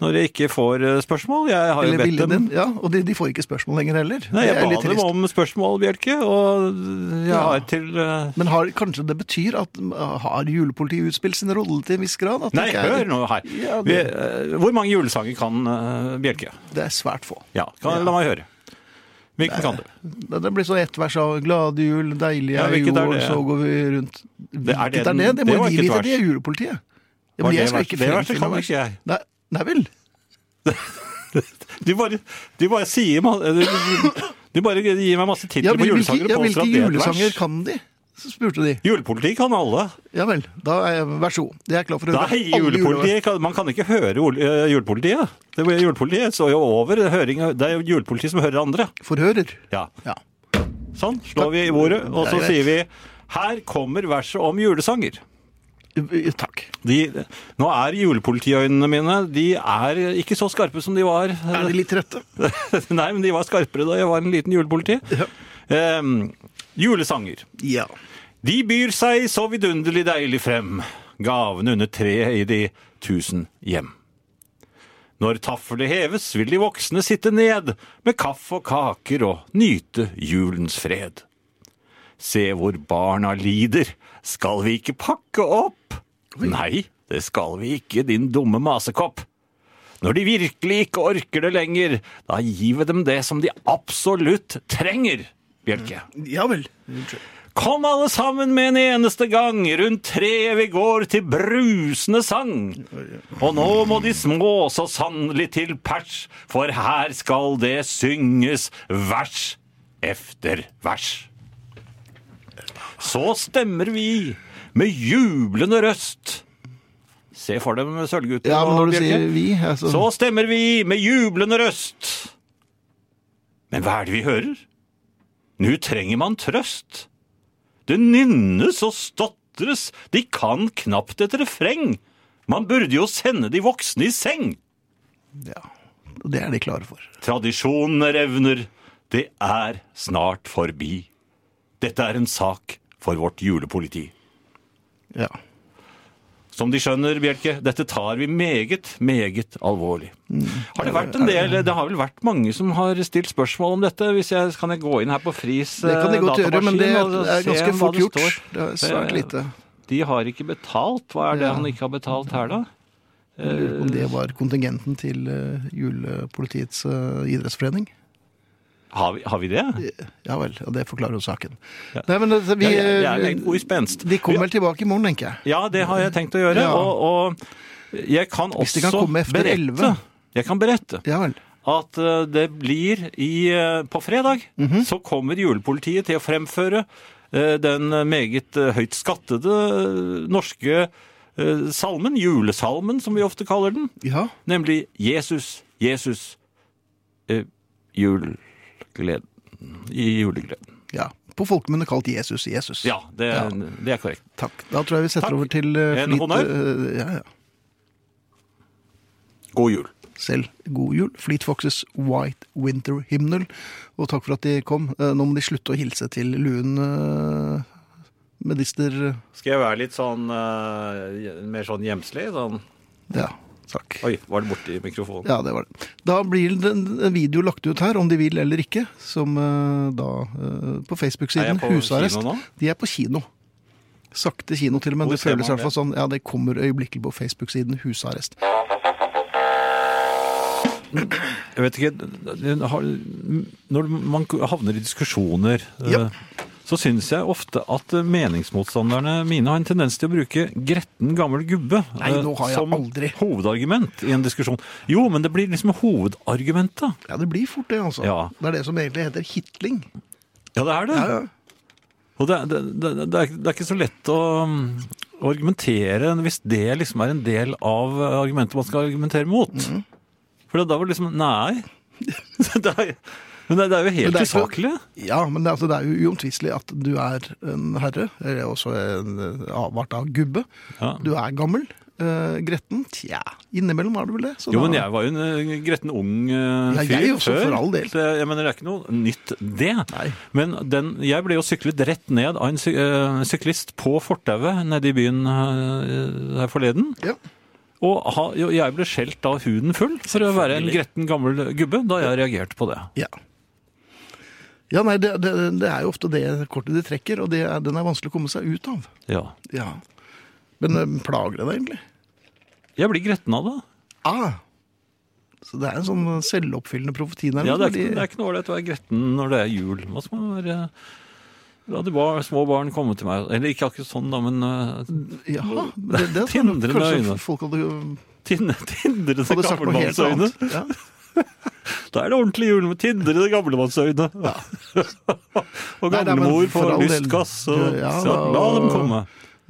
når jeg ikke får eh, spørsmål. Jeg har jo Eller bedt viljen dem din. Ja, og de, de får ikke spørsmål lenger heller. Det Nei, jeg er ba litt dem trist. om spørsmål, Bjelke, og jeg Ja. har til eh, Men har, kanskje det betyr at har julepolitiet utspilt sin rolle til en viss grad? At det Nei, ikke er- hør nå her. Ja, Vi, det, eh, hvor mange julesanger kan eh, Bjelke? det er svært få. Ja, kan, La meg høre. Hvilken kan du? Det, det blir så ett vers av 'Glade jul, deilige Ja, er hvilket er jul', det? så går vi rundt Hvilket er det? den- Det, det må var de ikke et vite, vers. det er julepolitiet. Ja, Var men det jeg skal vers- ikke det verset fremfinne kan vers. ikke jeg. Nei, nei vel. Du bare, du bare sier ma- eh, Du du bare gir meg masse Ja, titler på hvil- hvilke, julesanger ja, og påstår hvilke at det er et julesanger vers. kan de? Så spurte de. Julepoliti kan alle. Ja vel, da er jeg, vær så god. Jeg er klar for å høre Nei, alle julepolitiet kan, Man kan ikke høre ol- eh, julepolitiet. Det er julepolitiet står jo over. Høring, det er jo julepolitiet som hører andre. jule- Forhører. Ja. Ja. Sånn slår vi i bordet, og så Det er sier vi her kommer verset om julesanger. Takk. De, nå er julepolitiøynene mine De er ikke så skarpe som de var. [laughs] Er de litt trette? Nei, men de var skarpere da jeg var en liten julepoliti. Ehm, julesanger. Ja. De byr seg så vidunderlig deilig frem, gavene under treet i de tusen hjem. Når taffelet heves, vil de voksne sitte ned med kaffe og kaker og nyte julens fred. Se hvor barna lider, skal vi ikke pakke opp? Nei, det skal vi ikke, din dumme masekopp. Når de virkelig ikke orker det lenger, da gir vi dem det som de absolutt trenger, Bjelke. Ja vel. Kom alle sammen med en eneste gang, rundt treet vi går til brusende sang. Og nå må de små så sannelig til pers, for her skal det synges vers efter vers. Så stemmer vi med jublende røst. Se for dem Sølvgutten Ja, men og når du Bjørke. sier vi, altså Så stemmer vi med jublende røst. Men hva er det vi hører? Nå trenger man trøst. Det nynnes og stotres, de kan knapt et refreng. Man burde jo sende de voksne i seng. ja. Det er de klare for. Tradisjonene revner, det er snart forbi. Dette er en sak for vårt julepoliti. Ja. Som de skjønner, Bjelke, dette tar vi meget, meget alvorlig. Mm. Har det vært en del, det har vel vært mange som har stilt spørsmål om dette? Hvis jeg, kan jeg gå inn her på Fris eh, Det kan de godt gjøre, men det datamaskin og er se ganske hva fort det gjort. står? Det er svært lite. De har ikke betalt. Hva er det Ja. han ikke har betalt her, da? Jeg lurer på om det var kontingenten til eh, julepolitiets eh, idrettsforening. Eh, Har vi, har vi det? Ja vel, og det forklarer jo saken. Nei, men altså, vi Jeg- jeg- jeg er eh, en god i spenst. De kommer vel tilbake i morgen, tenker jeg. Ja, det har jeg tenkt å gjøre. Ja. Og, og jeg kan Hvis de også kan komme efter berette 11. Jeg kan berette Ja vel. at eh, det blir i, eh, på fredag, så kommer julepolitiet til å fremføre eh, den meget eh, høyt skattede eh, norske eh, salmen, julesalmen som vi ofte kaller den, Ja. nemlig Jesus, Jesus, eh, julegleden, i julegleden. ja. På folkemunne kalt Jesus Jesus. Ja, det, Ja. det er korrekt. Takk. Da tror jeg vi setter Takk. over til eh, En flit, honnør. eh, ja, ja. God jul. Selv god jul. Fleet Foxes White Winter Hymnal. Og takk for at de kom. Eh, Nå må de slutte å hilse til luen eh, medister Skal jeg være litt sånn, eh, mer sånn gjemslig? Sånn. Ja, takk. Oi, var det borti mikrofonen? Ja, det var det. Da blir det en video lagt ut her, om de vil eller ikke, som eh, da eh, på Er jeg Facebook-siden på Husarrest. kino nå? De er på kino. Sakte kino, til og med. Hvor Det ser føles i man hvert fall sånn. Ja, det kommer øyeblikkelig på Facebook-siden Husarrest. Jeg vet ikke det har- Når man havner i diskusjoner, eh, Ja. så syns jeg ofte at eh, meningsmotstanderne mine har en tendens til å bruke gretten gammel gubbe Nei, eh, nå har jeg som aldri. hovedargument i en diskusjon. Jo, men det blir liksom hovedargumentet. Ja, det blir fort det, altså. Ja. Det er det som egentlig heter hitling. Ja, det er det. Ja, ja. Og det, det, det, det, er, det er ikke så lett å mm, å argumentere hvis det liksom er en del av eh, argumentet man skal argumentere mot. Mhm. For da var det liksom Nei. [laughs] det er, men det, det er jo Men helt det er ikke- usaklig. Ja, men det, altså, det er jo uomtvistelig at du er en herre, eller også en eh, avart av gubbe. Ja. Du er gammel, eh, gretten. Tja, innimellom er du vel det. så Jo, da- men jeg var jo en eh, gretten ung eh, Ja, fyr jeg også, før. for all del. Så jeg, jeg mener, det er ikke noe nytt det. Nei. Men den, jeg ble jo syklet rett ned av en sy eh, syklist på fortauet nede i byen eh, her forleden. Ja. Og ha, jo, jeg ble skjelt av huden full for å være en gretten gammel gubbe da jeg reagerte på det. Ja. Ja, nei, det, det, det er jo ofte det kortet de trekker, og det er, den er vanskelig å komme seg ut av. Ja. Ja. Men eh, plager det deg egentlig? Jeg blir gretten av det. Ah! Så det er en sånn selvoppfyllende profeti nærmest. Ja, det, er fordi- ikke, det er ikke noe ålreit å være gretten når det er jul. Man skal være, la de bar, små barn komme til meg. Eller ikke akkurat sånn, da, men uh, Jaha, det, det, er sånn, Tindrende kanskje øyne. folk hadde, tindrende hadde sagt noe helt gammelmannsøyne. annet. Ja. Da er det ordentlig jul med tindrende gamlemannsøyne. [laughs] Nei, nei, og men gamlemor for får all del. lystgass. Og, Ja, så da- la dem komme.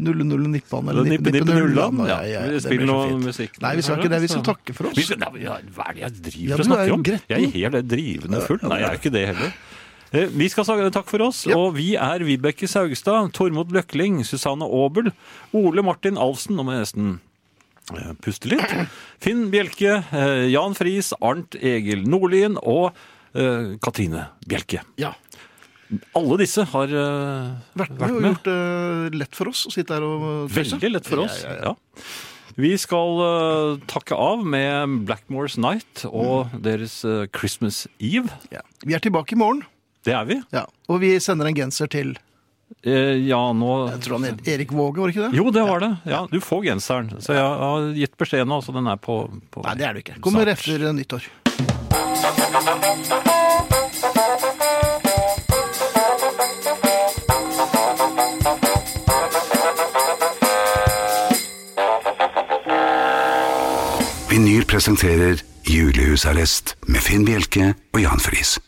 Nulle, nulle, nippan, eller Nippe, nippe, nullan. Ja, Ja, ja, ja, vi det spiller blir så noe fint. musikk. Nei, vi skal ikke det. Vi skal takke for oss. Vi skal- Nei, ja, Hva er det jeg driver Ja, du og er snakker om? gretten. Jeg er helt drivende full. Nei, jeg er ikke det heller. Eh, Vi skal sa- takke for oss, Ja. og vi er Vibeke Saugstad, Tormod Løkling, Susanne Aabel, Ole Martin Alfsen, nå må jeg nesten eh, puste litt, Finn Bjelke, eh, Jan Friis, Arnt Egil Nordlien og eh, Katrine Bjelke. Ja. Alle disse har eh, Vært med og gjort det lett for oss å sitte her og tøyse. Veldig lett for oss. Ja, Ja, ja, ja. Vi skal eh, takke av med Blackmore's Night og Mm. deres eh, Christmas Eve. Ja. Vi er tilbake i morgen, Det er vi. ja. og vi sender en genser til Eh, ja, nå jeg tror han het Erik Våge, var det ikke det? Jo, det var det. Ja, du får genseren. Så jeg har gitt beskjed nå, så den er på, på Nei, det er det ikke. Kommer etter nyttår. Vinyl presenterer Julehusarrest med Finn Bjelke og Jan Friis.